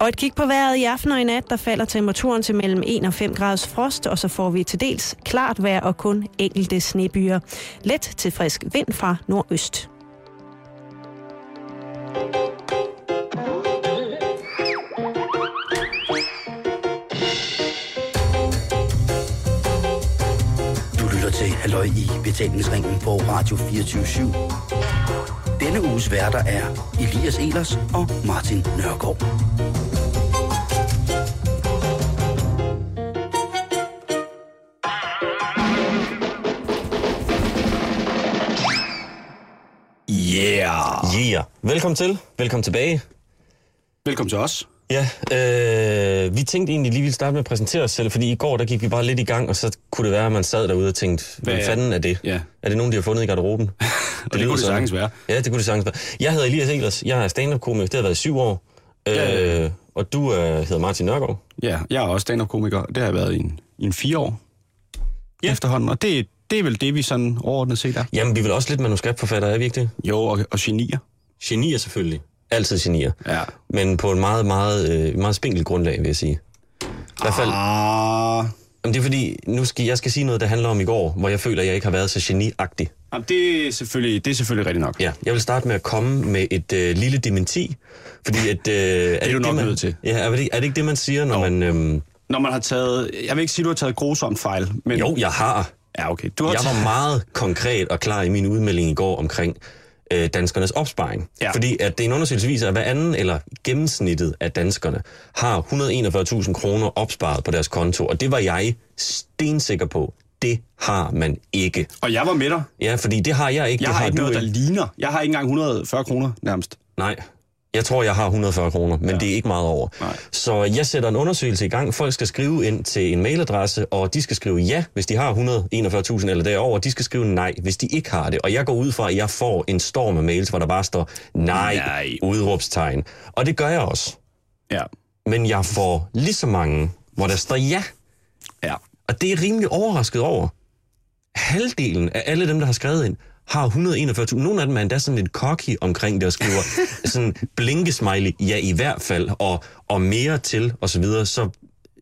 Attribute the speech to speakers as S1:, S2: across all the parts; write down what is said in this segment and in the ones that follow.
S1: Og et kig på vejret i aften og i nat, der falder temperaturen til mellem 1 og 5 graders frost, og så får vi til dels klart vejr og kun enkelte snebyer. Let til frisk vind fra nordøst.
S2: Du lytter til Halløj i betalingsringen på Radio 24 Denne uges værter er Elias Elers og Martin Nørgaard.
S3: Yeah!
S4: Yeah. Velkommen til. Velkommen tilbage.
S3: Velkommen til os.
S4: Ja, øh, vi tænkte egentlig lige, vi ville starte med at præsentere os selv, fordi i går der gik vi bare lidt i gang, og så kunne det være, at man sad derude og tænkte, hvad,
S3: Hvad er-
S4: fanden er det?
S3: Ja.
S4: Er det nogen, de har fundet i garderoben? det,
S3: det
S4: lyder
S3: kunne det
S4: sådan.
S3: sagtens være.
S4: Ja, det kunne det sagtens være. Jeg hedder Elias Elers, jeg er stand-up-komiker, det har været i syv år.
S3: ja,
S4: Øh, og du øh, hedder Martin Nørgaard.
S3: Ja, jeg er også stand-up-komiker. Det har jeg været i en, i en fire år
S4: Ja.
S3: ja. efterhånden. Og det, det er vel det, vi sådan overordnet set er.
S4: Jamen, vi vil også lidt manuskriptforfattere, er vi ikke det?
S3: Jo, og, og genier.
S4: Genier selvfølgelig. Altid genier.
S3: Ja.
S4: Men på en meget, meget, øh, meget spinkelt grundlag, vil jeg sige. I hvert fald,
S3: Ah,
S4: Jamen, det er fordi, nu skal, jeg skal sige noget, der handler om i går, hvor jeg føler, at jeg ikke har været så geniagtig.
S3: jamen, det, er selvfølgelig, det er selvfølgelig rigtigt nok.
S4: Ja, jeg vil starte med at komme med et øh, lille dementi, fordi at... Øh, er det
S3: du
S4: ikke
S3: nok
S4: man,
S3: nødt til.
S4: Ja, er det, ikke- er det ikke det, man siger, når man... Øhm,
S3: Når man har taget... Jeg vil ikke sige, du har taget grusomt fejl, men...
S4: jo, jeg har.
S3: Ja, okay. Du har
S4: Jeg var meget konkret og klar i min udmelding i går omkring øh, danskernes opsparing. Ja.
S3: Ja.
S4: Fordi at det er en undersøgelse viser, at hver anden eller gennemsnittet af danskerne har 141.000 kroner opsparet på deres konto. Og det var jeg stensikker på. Det har man ikke.
S3: Og jeg var med dig.
S4: Ja, fordi det har jeg ikke.
S3: Jeg
S4: det
S3: har ikke
S4: du
S3: noget, der ligner. Jeg har ikke engang 140 kroner nærmest.
S4: Nej. Jeg tror, jeg har 140 kroner, men ja. det er ikke meget over.
S3: Nej.
S4: Så jeg sætter en undersøgelse i gang. Folk skal skrive ind til en mailadresse, og de skal skrive ja, hvis de har 141.000 eller derover. De skal skrive nej, hvis de ikke har det. Og jeg går ud fra, at jeg får en storm af mails, hvor der bare står nej, nej.
S3: Nej.
S4: udråbstegn. Og det gør jeg også.
S3: Ja.
S4: Men jeg får lige så mange, hvor der står ja.
S3: Ja.
S4: Og det er jeg rimelig overrasket over. Halvdelen af alle dem, der har skrevet ind, har 141.000. Nogle af dem er endda sådan lidt cocky omkring det og skriver sådan blinkesmiley, ja i hvert fald, og, og mere til osv. Så, videre. så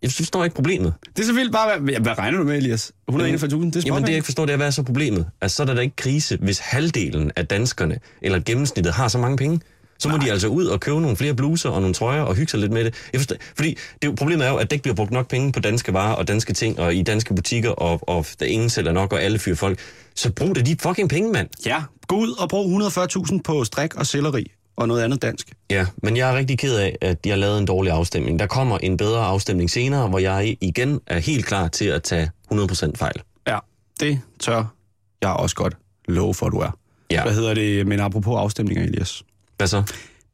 S4: jeg forstår ikke problemet.
S3: Det er så vildt bare... Hvad, hvad regner du med, Elias? 141.000? Det er småt,
S4: Jamen det jeg
S3: ikke?
S4: ikke forstår, det er, hvad er så problemet? Altså så er der da ikke krise, hvis halvdelen af danskerne, eller gennemsnittet, har så mange penge. Så må Nej. de altså ud og købe nogle flere bluser og nogle trøjer og hygge sig lidt med det. Jeg forstår, fordi det, er jo- problemet er jo, at der ikke bliver brugt nok penge på danske varer og danske ting og i danske butikker, og, og der ingen sælger nok, og alle fyrer folk. Så brug da de fucking penge, mand.
S3: Ja, gå ud og brug 140.000 på strik og selleri og noget andet dansk.
S4: Ja, men jeg er rigtig ked af, at jeg lavede en dårlig afstemning. Der kommer en bedre afstemning senere, hvor jeg igen er helt klar til at tage 100% fejl.
S3: Ja, det tør jeg også godt love for, du er.
S4: Ja.
S3: Hvad hedder det, men apropos afstemninger, Elias?
S4: Hvad så?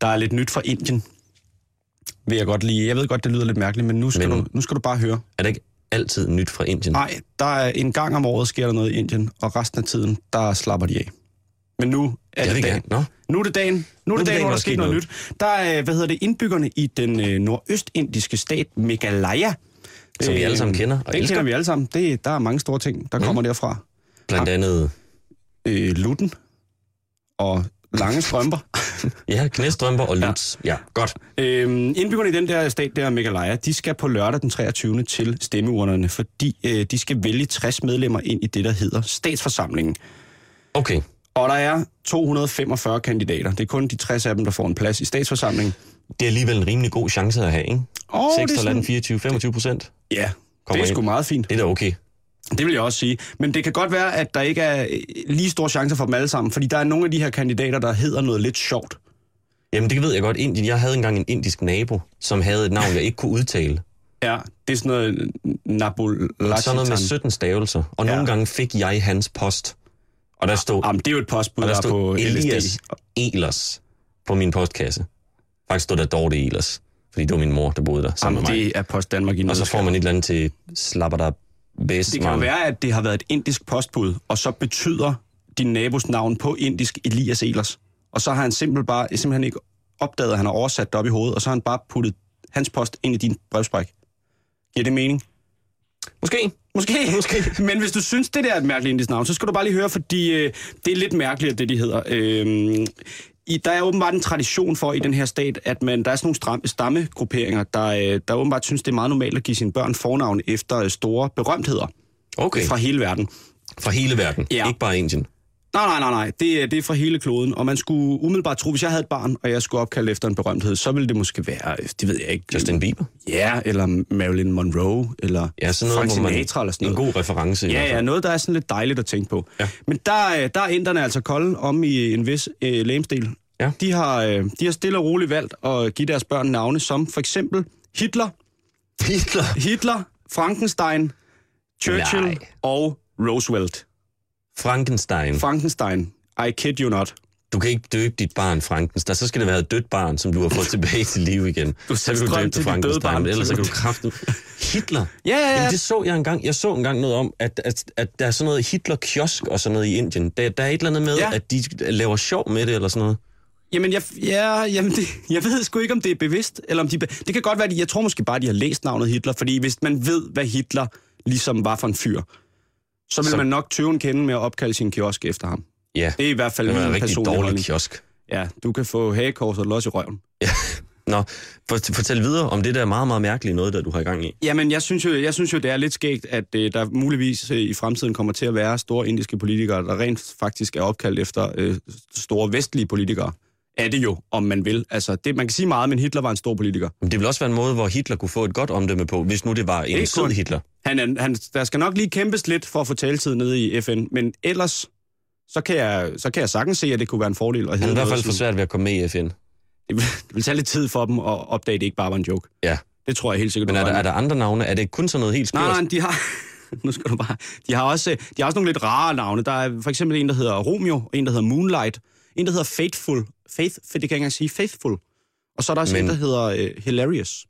S3: Der er lidt nyt fra Indien. Vil jeg godt lige. Jeg ved godt, det lyder lidt mærkeligt, men nu skal,
S4: Men-
S3: men... Du, nu skal du bare høre.
S4: Er det ikke altid nyt fra Indien?
S3: Nej, der er en gang om året sker der noget i Indien, og resten af tiden, der slapper de af. Men nu er
S4: jeg
S3: det
S4: vil
S3: dagen.
S4: gerne. Nå?
S3: Nu er det dagen, nu er det dagen, hvor der sker noget, noget nyt. Der er, hvad hedder det, indbyggerne i den øh, nordøstindiske stat Meghalaya. Øh,
S4: Som vi alle sammen kender og
S3: den
S4: elsker.
S3: kender vi alle sammen. Det, der er mange store ting, der mm. kommer derfra.
S4: Blandt andet,
S3: Øh, lutten og lange strømper.
S4: ja, knæstrømper og luts. Ja, ja godt.
S3: Øhm, indbyggerne i den der stat der, Meghalaya, de skal på lørdag den 23. til stemmeurnerne, fordi øh, de skal vælge 60 medlemmer ind i det, der hedder statsforsamlingen.
S4: Okay,
S3: Og der er 245 kandidater. Det er kun de 60 af dem, der får en plads i statsforsamlingen.
S4: det er alligevel en rimelig god chance at have, ikke?
S3: Og det er
S4: 6,
S3: sådan-
S4: 24, 25 procent.
S3: Ja, det
S4: Kommer
S3: er
S4: ind.
S3: sgu meget fint.
S4: Det er da okay.
S3: Det vil jeg også sige. Men det kan godt være, at der ikke er øh, lige store chancer for dem alle sammen, fordi der er nogle af de her kandidater, der hedder noget lidt sjovt.
S4: Jamen, det ved jeg godt. Indien, jeg havde engang en indisk nabo, som havde et navn, jeg ikke kunne udtale.
S3: Ja, det er sådan noget Nabul
S4: Sådan noget med 17 stavelser. Og
S3: Ja.
S4: nogle gange fik jeg hans post. Og der stod,
S3: Jamen, det er jo et postbud,
S4: og der
S3: der, der på
S4: stod
S3: Elias.
S4: Elias
S3: LSD.
S4: Elers på min postkasse. Faktisk stod der Dorte Elers, fordi det var min mor, der boede der sammen
S3: Jamen,
S4: med mig.
S3: det er Post Danmark i
S4: Og så får man et eller andet til slapper der bedst.
S3: Det kan jo
S4: mand.
S3: være, at det har været et indisk postbud, og så betyder din nabos navn på indisk Elias Elers. Og så har han simpelthen, bare, simpelthen ikke opdaget, at han har oversat det op i hovedet, og så har han bare puttet hans post ind i din brevspræk. Giver det mening?
S4: Måske.
S3: Måske. Måske. Men hvis du synes, det der er et mærkeligt indisk navn, så skal du bare lige høre, fordi øh, det er lidt mærkeligt, det de hedder. Øh, i, der er åbenbart en tradition for i den her stat, at man, der er sådan nogle stram, stammegrupperinger, der, øh, der åbenbart synes, det er meget normalt at give sine børn fornavn efter øh, store berømtheder
S4: Okay,
S3: fra
S4: fra,
S3: hele verden.
S4: fra hele verden,
S3: Ja.
S4: ja. ikke bare Indien.
S3: Nej, nej, nej, nej. Det, er- det er fra hele kloden. Og man skulle umiddelbart tro, hvis jeg havde et barn, og jeg skulle opkalde efter en berømthed, så ville det måske være, øh, det ved jeg ikke,
S4: Justin Bieber.
S3: Ja, eller Marilyn Monroe, eller
S4: Ja, sådan noget,
S3: Frank
S4: hvor man-
S3: Sinatra, eller sådan
S4: En
S3: noget.
S4: god reference. i hvert
S3: Ja,
S4: fald.
S3: ja, noget, der er sådan lidt dejligt at tænke på.
S4: Ja.
S3: Men der, øh, der er inderne altså kolde om i en vis øh, lægemstil.
S4: Ja.
S3: De, har, øh, de har stille og roligt valgt at give deres børn navne som for eksempel Hitler,
S4: Hitler.
S3: Hitler, Frankenstein, Churchill
S4: Nej. Mm.
S3: og Roosevelt.
S4: Frankenstein.
S3: Frankenstein, I kid you not.
S4: Du kan ikke døbe dit barn Frankenstein. Så skal det være et dødt barn, som du har fået tilbage til live igen.
S3: Du
S4: så kan
S3: strøm
S4: du døbe
S3: til dit
S4: det
S3: døde barn.
S4: Frankenstein, men ellers så kan du kraften. Hitler.
S3: Ja, ja, ja.
S4: Jamen, det så jeg engang. Jeg så engang noget om, at, at, at der er sådan noget Hitler-kiosk og sådan noget i Indien. Der, der er et eller andet med,
S3: Ja.
S4: ja. at de laver sjov med det eller sådan noget.
S3: Jamen, jeg, ja, jamen det, jeg ved sgu ikke, om det er bevidst, eller om de... be- Det kan godt være, at jeg tror måske bare, at de har læst navnet Hitler, fordi hvis man ved, hvad Hitler ligesom var for en fyr, så vil
S4: Så-
S3: man nok tøven kende med at opkalde sin kiosk efter ham.
S4: Ja,
S3: Det er i hvert fald
S4: det var en
S3: min
S4: rigtig
S3: personlige
S4: dårlig
S3: holdning.
S4: kiosk.
S3: Ja, du kan få hagekors og los i røven.
S4: Nå, for, fortæl videre om det der meget, meget mærkelige noget, der du har i gang i.
S3: Jamen, jeg synes jo, jeg synes jo det er lidt skægt, at øh, der muligvis øh, i fremtiden kommer til at være store indiske politikere, der rent faktisk er opkaldt efter øh, store vestlige politikere. Er det jo, om man vil. Altså, det, man kan sige meget, men Hitler var en stor politiker.
S4: Men det vil også være en måde, hvor Hitler kunne få et godt omdømme på, hvis nu det var en
S3: Ikke
S4: sød
S3: kun.
S4: Hitler.
S3: Han, er- han, der skal nok lige kæmpes lidt for at få taletid nede i FN, men ellers, så kan jeg, så kan jeg sagtens se, at det kunne være en fordel.
S4: Han er
S3: At
S4: i
S3: hedde
S4: hvert
S3: noget
S4: fald for
S3: sådan-
S4: svært ved at komme med i FN.
S3: det, vil, det vil tage lidt tid for dem at opdage, at det ikke bare var en joke.
S4: Ja.
S3: Det tror jeg helt sikkert.
S4: Men
S3: du
S4: er
S3: har
S4: der,
S3: ret i.
S4: er der andre navne? Er det kun sådan noget helt skørt?
S3: Nej, nej, de har... Nu skal du bare... De har, også, øh, de har også nogle lidt rare navne. Der er for eksempel en, der hedder Romeo, og en, der hedder Moonlight, en, der hedder Faithful. Faith, det kan jeg ikke engang sige. Faithful. Og så er der også Men...
S4: Men-
S3: en, der hedder øh, Hilarious.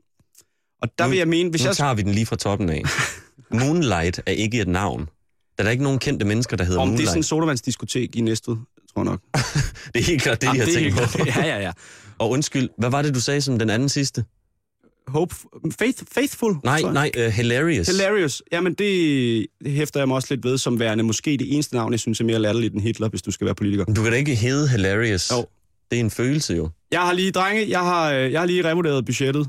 S3: Og der vil jeg mene, hvis
S4: nu
S3: jeg...
S4: tager vi den lige fra toppen af. Moonlight er ikke et navn. Der er der ikke nogen kendte mennesker, der hedder
S3: Om det er
S4: Moonlight.
S3: sådan en sodavandsdiskotek i Næstved, tror jeg nok.
S4: Det er helt klart det, de har
S3: Jamen,
S4: tænkt
S3: helt
S4: på.
S3: klart. Ja, ja, ja.
S4: Og undskyld, hvad var det, du sagde som den anden sidste?
S3: Hope, faith, faithful.
S4: Nej,
S3: tror jeg.
S4: nej, uh, Hilarious.
S3: Hilarious. Jamen, det, det hæfter jeg mig også lidt ved som værende. Måske det eneste navn, jeg synes er mere latterligt end Hitler, hvis du skal være politiker.
S4: Du kan da ikke hedde Hilarious.
S3: Jo.
S4: Det er en følelse jo.
S3: Jeg har lige, drenge, jeg har, øh, jeg har lige revurderet budgettet.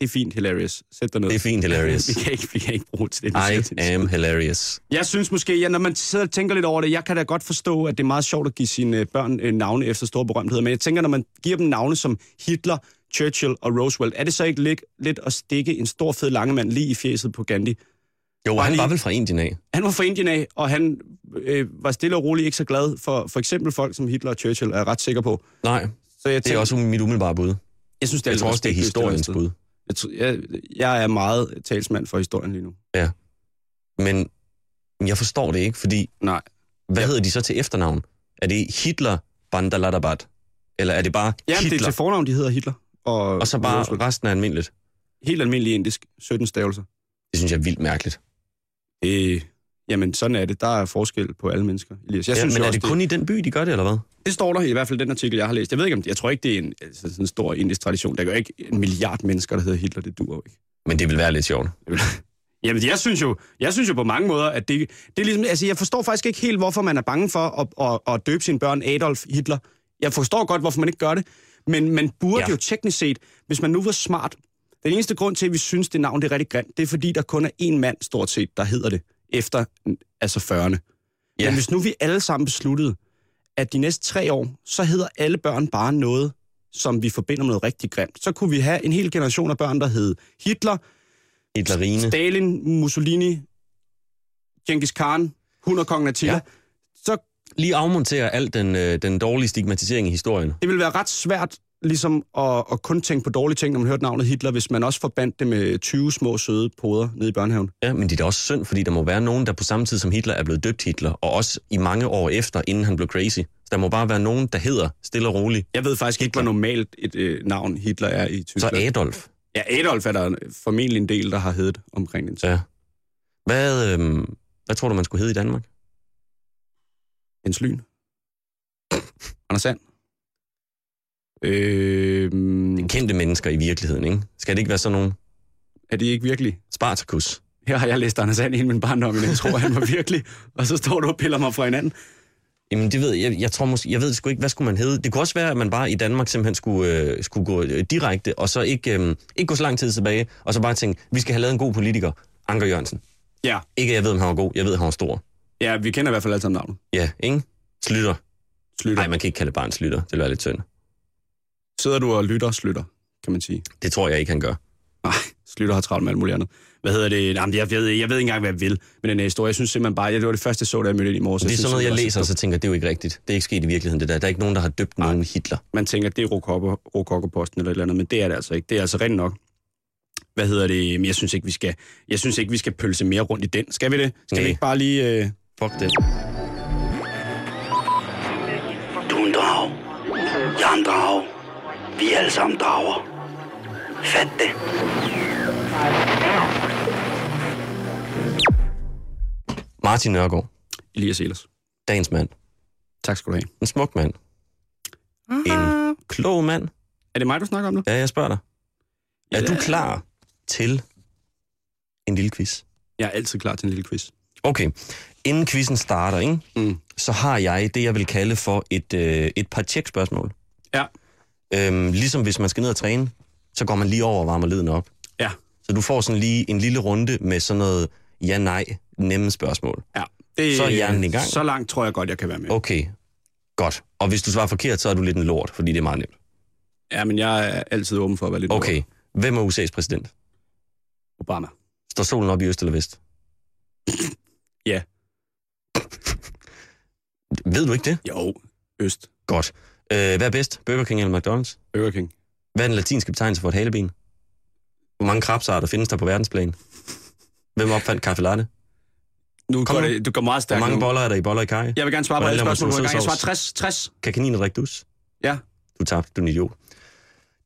S3: Det er fint, Hilarious. Sæt dig ned.
S4: Det er fint, Hilarious.
S3: vi, kan ikke, vi kan ikke bruge til det. du siger til
S4: I
S3: det.
S4: am hilarious.
S3: Jeg synes måske, ja, når man sidder og tænker lidt over det, jeg kan da godt forstå, at det er meget sjovt at give sine øh, børn øh, navne efter store berømtheder, men jeg tænker, når man giver dem navne som Hitler, Churchill og Roosevelt, er det så ikke lidt, lidt at stikke en stor, fed langemand lige i fjeset på Gandhi?
S4: Jo, han
S3: lige-
S4: var vel fra Indien af.
S3: Han var fra Indien af, og han øh, var stille og roligt ikke så glad for for eksempel folk som Hitler og Churchill, er jeg ret sikker på.
S4: Nej,
S3: Så jeg
S4: det er også mit umiddelbare bud.
S3: jeg synes, det er,
S4: Jeg tror
S3: lidt
S4: også, det er
S3: respektløst,
S4: historiens
S3: eller
S4: bud.
S3: andet sted. Jeg, tror- jeg, jeg er meget talsmand for historien lige nu.
S4: Men jeg forstår det ikke, fordi
S3: Nej.
S4: hvad
S3: Ja.
S4: hedder de så til efternavn? Er det Hitler Bandaladabat? Eller er det bare
S3: Ja, det er
S4: Hitler?
S3: til fornavn, de hedder Hitler. Og,
S4: og så bare
S3: Roosevelt.
S4: resten er almindeligt.
S3: Helt almindelig indisk. 17 stavelser.
S4: Det synes jeg er vildt mærkeligt.
S3: Øh, jamen, sådan er det. Der er forskel på alle mennesker, Elias. Jeg
S4: ja,
S3: synes
S4: men
S3: jo
S4: er
S3: også,
S4: det kun det... i den by, de gør det, eller hvad?
S3: det står der i hvert fald i den artikel, jeg har læst. Jeg ved ikke, om det, jeg tror ikke, det er en, altså, sådan en stor indisk tradition. Der er jo ikke en milliard mennesker, der hedder Hitler. Det duer jo ikke.
S4: Men det vil være lidt sjovt.
S3: Jamen, jeg synes jo, jeg synes jo på mange måder, at det, det er ligesom... Altså, jeg forstår faktisk ikke helt, hvorfor man er bange for at, at, at døbe sine børn Adolf Hitler. Jeg forstår godt, hvorfor man ikke gør det. Men man burde ja.
S4: Ja.
S3: jo teknisk set, hvis man nu var smart... Den eneste grund til, at vi synes, det navn det er rigtig grimt, det er fordi, der kun er én mand, stort set, der hedder det, efter altså 40'erne. Ja.
S4: Ja.
S3: Men hvis nu vi alle sammen besluttede, at de næste tre år, så hedder alle børn bare noget, som vi forbinder med noget rigtig grimt, så kunne vi have en hel generation af børn, der hed Hitler,
S4: Hitlerine.
S3: Stalin, Mussolini, Genghis Khan, hun og kongen Attila. Ja.
S4: Ja.
S3: Så
S4: Lige afmontere al den, øh, den dårlige stigmatisering i historien.
S3: det ville være ret svært ligesom at, at kun tænke på dårlige ting, når man hørte navnet Hitler, hvis man også forbandt det med 20 små søde poder nede i børnehaven.
S4: Ja, men det er da også synd, fordi der må være nogen, der på samme tid som Hitler er blevet døbt Hitler, og også i mange år efter, inden han blev crazy. Så der må bare være nogen, der hedder stille og roligt.
S3: Jeg ved faktisk ikke, hvor normalt et øh, navn Hitler er i
S4: Så
S3: Tyskland.
S4: Adolf.
S3: ja, Adolf er der formentlig en del, der har heddet omkring den. tid.
S4: Ja. Hvad, øhm, hvad tror du, man skulle hedde i Danmark?
S3: Jens Lyn. Anders Sand. Øh,
S4: Kendte mennesker i virkeligheden, ikke? Skal det ikke være sådan nogle
S3: er det ikke virkelig?
S4: Spartacus?
S3: Her har jeg læst Anders Sand hele min barndom, men jeg tror, han var virkelig. Og så står du og piller mig fra hinanden.
S4: Jamen, det ved jeg, jeg, jeg tror måske, jeg ved det sgu ikke, hvad skulle man hedde? Det kunne også være, at man bare i Danmark simpelthen skulle, øh, skulle gå øh, direkte, og så ikke, øh, ikke gå så lang tid tilbage, og så bare tænke, vi skal have lavet en god politiker, Anker Jørgensen.
S3: Ja,
S4: Ikke at jeg ved, om han var god, jeg ved, at han var stor.
S3: ja vi kender i hvert fald alle sammen navnet.
S4: Ja, ikke? Slytter.
S3: Slytter.
S4: Nej, man kan ikke kalde barn slytter. Det lyder lidt synd.
S3: Sidder du og lytter og slutter, kan man sige.
S4: Det tror jeg ikke, han gør.
S3: Nej, Slytter har travlt med alt muligt andet. Hvad hedder det? Jamen, jeg, ved, jeg ved ikke engang, hvad jeg vil med den her historie. Jeg synes simpelthen bare, jeg, det var det første, jeg så, da jeg mødte ind i morges.
S4: Det er
S3: Jeg
S4: sådan
S3: synes
S4: noget, jeg
S3: simpelthen
S4: læser, og så tænker, det er jo ikke rigtigt. Det er ikke sket i virkeligheden, det der. Der er ikke nogen, der har døbt nogen Hitler.
S3: også- Man tænker, det er rokoko- rokokkerposten eller et eller andet, men det er det altså ikke. Det er altså rent nok. Hvad hedder det? Men jeg synes ikke, vi skal, jeg synes ikke, vi skal pølse mere rundt i den. Skal vi det? Skal
S4: Nej.
S3: vi ikke bare lige... Øh...
S4: Fuck det.
S2: Du er en drag. Jeg er en drag. Vi er alle sammen drager. Fat det.
S4: Martin Nørgaard,
S3: Elias Elers.
S4: dagens mand.
S3: Tak skal du have.
S4: En smuk mand. En klog mand.
S3: Er det mig, du snakker om nu?
S4: Ja, jeg spørger dig. Er
S3: Ja.
S4: du klar til en lille quiz?
S3: Jeg er altid klar til en lille quiz.
S4: Okay. Inden quizzen starter, ikke?
S3: Mm.
S4: så har jeg det, jeg vil kalde for et, øh, et par tjekspørgsmål.
S3: Ja.
S4: Øhm, ligesom hvis man skal ned og træne, så går man lige over og varmer leden op.
S3: Ja.
S4: Så du får sådan lige en lille runde med sådan noget ja-nej, nemme spørgsmål.
S3: Ja. Det,
S4: Så er hjernen i gang. Oh.
S3: Så langt tror jeg godt, jeg kan være med.
S4: Okay, godt. Og hvis du svarer forkert, så er du lidt en lort, fordi det er meget nemt.
S3: Ja, men jeg er altid åben for at være lidt
S4: Okay, hvem er USA's præsident?
S3: Obama.
S4: Står solen op i øst eller vest?
S3: Ja.
S4: Ved du ikke det?
S3: Jo, Øst.
S4: Godt. Øh, hvad er bedst? Burger King eller McDonald's?
S3: Burger King.
S4: Hvad er den latinske betegnelse for et haleben? Hvor mange krabsarter findes der på verdensplan? Hvem opfandt kaffe latte?
S3: Nu
S4: Kom
S3: går
S4: nu.
S3: det, du går meget
S4: Hvor
S3: stærkt
S4: mange
S3: nu.
S4: boller er der i boller i kaj?
S3: Jeg vil gerne svare på
S4: Hvordan
S3: alle
S4: laver man
S3: spørgsmål på en gang. Jeg svarer
S4: solsovs?
S3: 60. 60.
S4: Kan kaniner drikke dus?
S3: Ja.
S4: Du tabte, du er en idiot.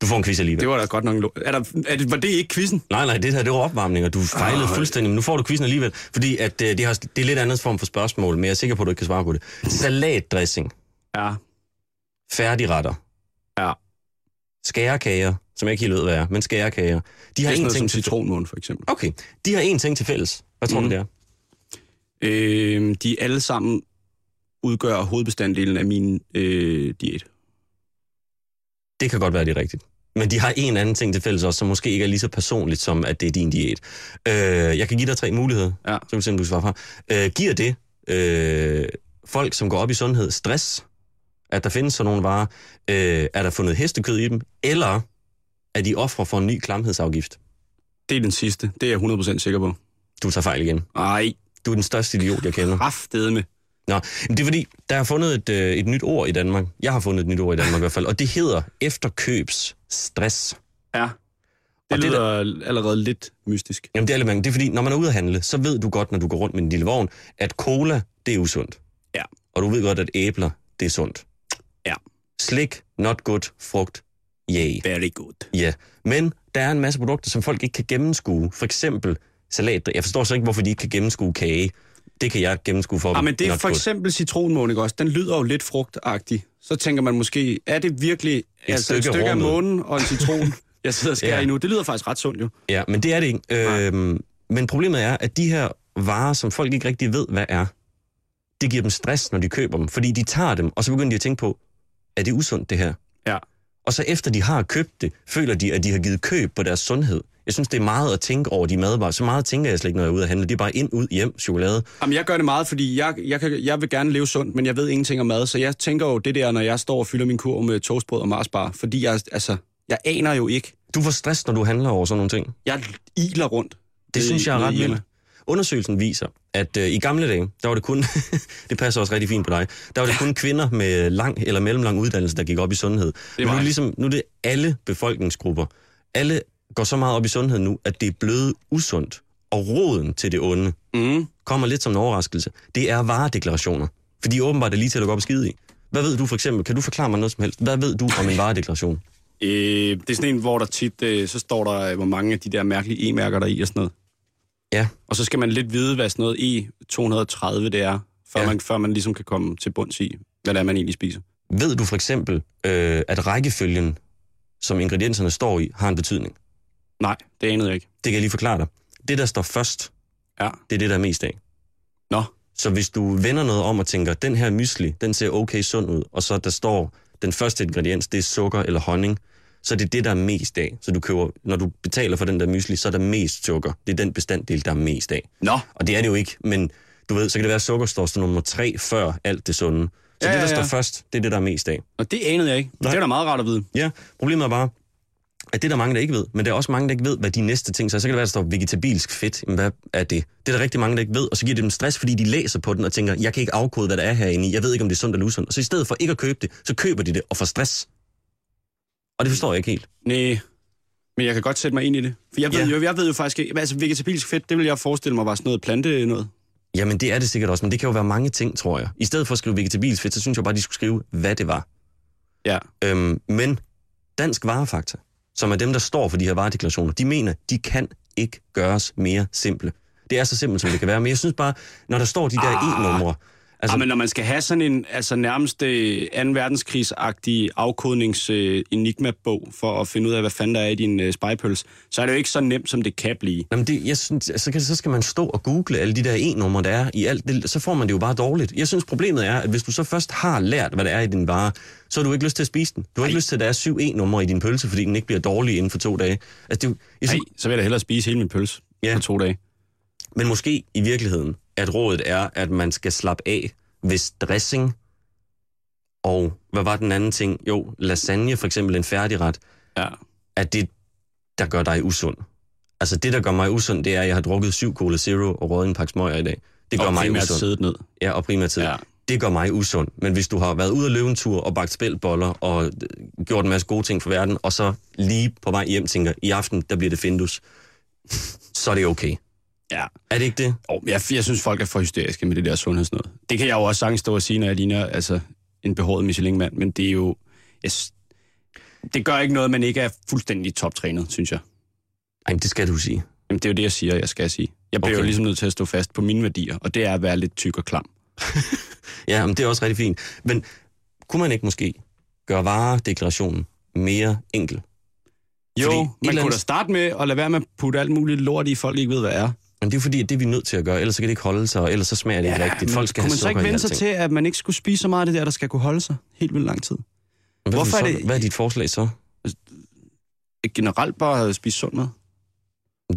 S4: Du får en quiz alligevel.
S3: Det var da godt nok en lo- er der, er det, Var Ah, det ikke quizzen?
S4: Nej, nej, det her det var opvarmning, og du fejlede oh, fuldstændig, men nu får du quizzen alligevel, fordi at, øh, det, har, det er lidt andet form for spørgsmål, men jeg er sikker på, at du ikke kan svare på det. Salatdressing,
S3: Ja.
S4: færdigretter,
S3: Ja.
S4: skærekager, som jeg ikke helt ved, hvad er, men skærekager, de har
S3: Det er sådan
S4: en
S3: noget som
S4: ting til
S3: citronmåne, for eksempel.
S4: Okay, de har en ting til fælles. Hvad tror mm.
S3: Mhm.
S4: du, det er?
S3: Øh, de alle sammen udgør hovedbestanddelen af min øh, diæt.
S4: Det kan godt være, det er rigtigt. Men de har en anden ting til fælles også, som måske ikke er lige så personligt, som at det er din diæt. Øh, jeg kan give dig tre muligheder,
S3: Ja.
S4: så kan du se, om du svarer fra. Øh, giver det øh, folk, som går op i sundhed, stress, at der findes sådan nogle varer? Øh, er der fundet hestekød i dem? Eller er de ofre for en ny klamhedsafgift?
S3: Det er den sidste. Det er jeg 100% sikker på.
S4: Du tager fejl igen.
S3: Ej,
S4: Du er den største idiot, jeg kender.
S3: kraftedeme.
S4: Nå, men det er fordi, der er fundet et, øh, et nyt ord i Danmark. Jeg har fundet et nyt ord i Danmark i hvert fald, og det hedder efterkøbsstress.
S3: Ja. Det
S4: Og det
S3: lyder det allerede lidt mystisk.
S4: Jamen det er lidt mærkeligt. Det er fordi, når man er ude at handle, så ved du godt, når du går rundt med en lille vogn, at cola, det er usundt.
S3: Ja.
S4: Og du ved godt, at æbler, det er sundt.
S3: Ja.
S4: Slik, not good, frugt, yay.
S3: Very good.
S4: Ja. Men der er en masse produkter, som folk ikke kan gennemskue. For eksempel salat. Jeg forstår så ikke, hvorfor de ikke kan gennemskue kage. Det kan jeg gennemskue for
S3: Ja,
S4: dem.
S3: Ah, men det er
S4: Not
S3: for
S4: good.
S3: eksempel citronmåne, ikke også? Den lyder jo lidt frugtagtig. Så tænker man måske, er det virkelig et, altså,
S4: stykke
S3: et
S4: af
S3: stykke af
S4: rummet.
S3: månen og en citron, jeg sidder og skærer
S4: Ja.
S3: ja. i nu? Det lyder faktisk ret sundt jo.
S4: Ja, men det er det ikke. Øhm, men problemet er, at de her varer, som folk ikke rigtig ved, hvad er, det giver dem stress, når de køber dem. Fordi de tager dem, og så begynder de at tænke på, er det usundt det her?
S3: Ja.
S4: Og så efter de har købt det, føler de, at de har givet køb på deres sundhed. Jeg synes, det er meget at tænke over de madvarer. Så meget tænker jeg slet ikke, når jeg er ude at handle. Det er bare ind, ud, hjem, chokolade.
S3: Jamen, jeg gør det meget, fordi jeg, jeg, kan, jeg vil gerne leve sundt, men jeg ved ingenting om mad, så jeg tænker jo det der, når jeg står og fylder min kurv med toastbrød og marsbar, fordi jeg, altså, jeg aner jo ikke.
S4: Du får stress, når du handler over sådan nogle ting.
S3: Jeg iler rundt.
S4: Det synes jeg er ret
S3: vildt.
S4: vildt. Undersøgelsen viser, at øh, i gamle dage, der var det kun, det passer også rigtig fint på dig, der var det kun kvinder med lang eller mellemlang uddannelse, der gik op i sundhed. Det nu, er
S3: mig.
S4: det ligesom, nu er det alle befolkningsgrupper. Alle går så meget op i sundhed nu, at det er blevet usundt. Og roden til det onde
S3: Mm.
S4: kommer lidt som en overraskelse. Det er varedeklarationer. For de er åbenbart er lige til at gå op og skide i. Hvad ved du for eksempel? Kan du forklare mig noget som helst? Hvad ved du om en varedeklaration?
S3: Øh, det er sådan en, hvor der tit, øh, så står der, øh, hvor mange af de der mærkelige e-mærker, der er i og sådan noget.
S4: Ja,
S3: Og så skal man lidt vide, hvad sådan noget E E230 det er, før,
S4: Ja.
S3: ja. man, før man ligesom kan komme til bunds i, hvad det er, man egentlig spiser.
S4: Ved du for eksempel, øh, at rækkefølgen, som ingredienserne står i, har en betydning?
S3: Nej, det anede jeg ikke.
S4: Det kan jeg lige forklare dig. Det, der står først,
S3: Ja.
S4: det er det, der er mest af.
S3: Nå,
S4: Så hvis du vender noget om og tænker, den her mysli, den ser okay sund ud, og så der står, den første ingrediens, det er sukker eller honning, så er det det, der er mest af. Så du køber, når du betaler for den der mysli, så er der mest sukker. Det er den bestanddel, der er mest af.
S3: Nå.
S4: Og det er det jo ikke, men du ved, så kan det være, at sukker står som nummer tre før alt det sunde. Så
S3: Ja,
S4: ja, det, der
S3: ja,
S4: ja,
S3: ja.
S4: står først, det er det, der er mest af.
S3: Og det anede jeg ikke. Nej.
S4: Nej.
S3: Det er da meget rart at vide.
S4: Ja, problemet er bare, at det er der mange, der ikke ved, men der er også mange, der ikke ved, hvad de næste ting, så er. så kan det være, at der står vegetabilsk fedt, men hvad er det? Det er der rigtig mange, der ikke ved, og så giver det dem stress, fordi de læser på den og tænker, jeg kan ikke afkode, hvad der er herinde i, jeg ved ikke, om det er sundt eller usundt. Og så i stedet for ikke at købe det, så køber de det og får stress. Og det forstår jeg ikke helt.
S3: Nej, men jeg kan godt sætte mig ind i det. For jeg ved,
S4: Ja.
S3: jo, jeg ved jo faktisk ikke, altså vegetabilsk fedt, det vil jeg forestille mig var sådan noget plante noget.
S4: Jamen det er det sikkert også, men det kan jo være mange ting, tror jeg. I stedet for at skrive vegetabilsk fedt, så synes jeg bare, de skulle skrive, hvad det var.
S3: Ja.
S4: Øhm, men Dansk Varefakta, som er dem, der står for de her varedeklarationer, de mener, de kan ikke gøres mere simple. Det er så simpelt, som det kan være. Men jeg synes bare, når der står de der
S3: Ah.
S4: e-numre...
S3: Altså,
S4: Altså,
S3: men når man skal have sådan en altså nærmest øh, 2. verdenskrigsagtig afkodnings-enigma-bog for at finde ud af, hvad fanden der er i din øh, spejpøls, så er det jo ikke så nemt, som det kan blive.
S4: Jamen det, jeg synes, så, kan, så skal man stå og google alle de der e-numre, der er i alt. Det, så får man det jo bare dårligt. Jeg synes, problemet er, at hvis du så først har lært, hvad der er i din vare, så har du ikke lyst til at spise den. Du har ikke lyst til, at der er syv e-numre i din pølse, fordi den ikke bliver dårlig inden for to dage. Altså, det, er jo- jeg
S3: Nej,
S4: synes,
S3: så vil jeg da hellere spise hele min pølse
S4: Ja.
S3: på to dage.
S4: men måske i virkeligheden, at rådet er, at man skal slappe af ved dressing og, hvad var den anden ting? Jo, lasagne for eksempel, en færdigret.
S3: Ja.
S4: at det, der gør dig usund. Altså det, der gør mig usund, det er, at jeg har drukket syv Cola Zero og røget en pakke smøger i dag. Det gør
S3: og
S4: mig
S3: primært
S4: usund.
S3: sidde ned.
S4: Ja, og primært tid.
S3: Ja.
S4: Ja. Det gør mig usund. Men hvis du har været ude og løbe en tur og bagt spældboller og øh, gjort en masse gode ting for verden, og så lige på vej hjem tænker, i aften, der bliver det findus, så er det okay.
S3: Ja.
S4: Er det ikke det?
S3: Oh, jeg, jeg synes, folk er for hysteriske med det der sundhedsnød. Det kan jeg jo også sagtens stå og sige, når jeg ligner altså, en behåret Michelin-mand, men det er jo... Jeg, s- det gør ikke noget, at man ikke er fuldstændig toptrænet, synes jeg.
S4: Ej, men det skal du sige.
S3: Jamen, det er jo det, jeg siger, jeg skal sige. Jeg bliver okay.
S4: Okay.
S3: jo ligesom nødt til at stå fast på mine værdier, og det er at være lidt tyk og klam.
S4: Ja, men det er også rigtig fint. Men kunne man ikke måske gøre varedeklarationen mere enkel?
S3: Jo,
S4: Fordi
S3: Fordi
S4: et eller
S3: man kunne da
S4: andet-
S3: starte med at lade være med at putte alt muligt lort i, folk ikke ved, hvad er.
S4: Men det er jo fordi, at det er vi nødt til at gøre, ellers så kan det ikke holde sig, og ellers så smager det ikke rigtigt. Folk skal
S3: kunne
S4: have
S3: man så ikke
S4: sukker i
S3: vende sig
S4: alting.
S3: til, at man ikke skulle spise så meget af det der, der skal kunne holde sig helt vildt lang tid?
S4: Hvad,
S3: Hvorfor
S4: Hvorfor
S3: er
S4: så,
S3: det-
S4: hvad er dit forslag så?
S3: Generelt bare spise sund mad.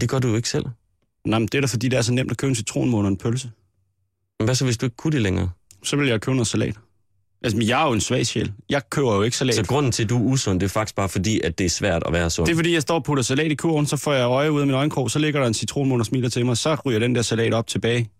S4: Det gør du jo ikke selv.
S3: Nej, men det er da fordi, det er så nemt at købe en citronmåne og en pølse.
S4: Men hvad så, hvis du ikke kunne det længere?
S3: så vil jeg købe noget salat. Altså, men jeg er jo en svag sjæl. Jeg køber jo ikke salat.
S4: Så grunden til, at du er usund, det er faktisk bare fordi, at det er svært at være sund.
S3: Det er fordi, jeg står og putter salat i kurven, så får jeg øje ud af min øjenkrog, så ligger der en citronmåne og smiler til mig, så ryger den der salat op tilbage.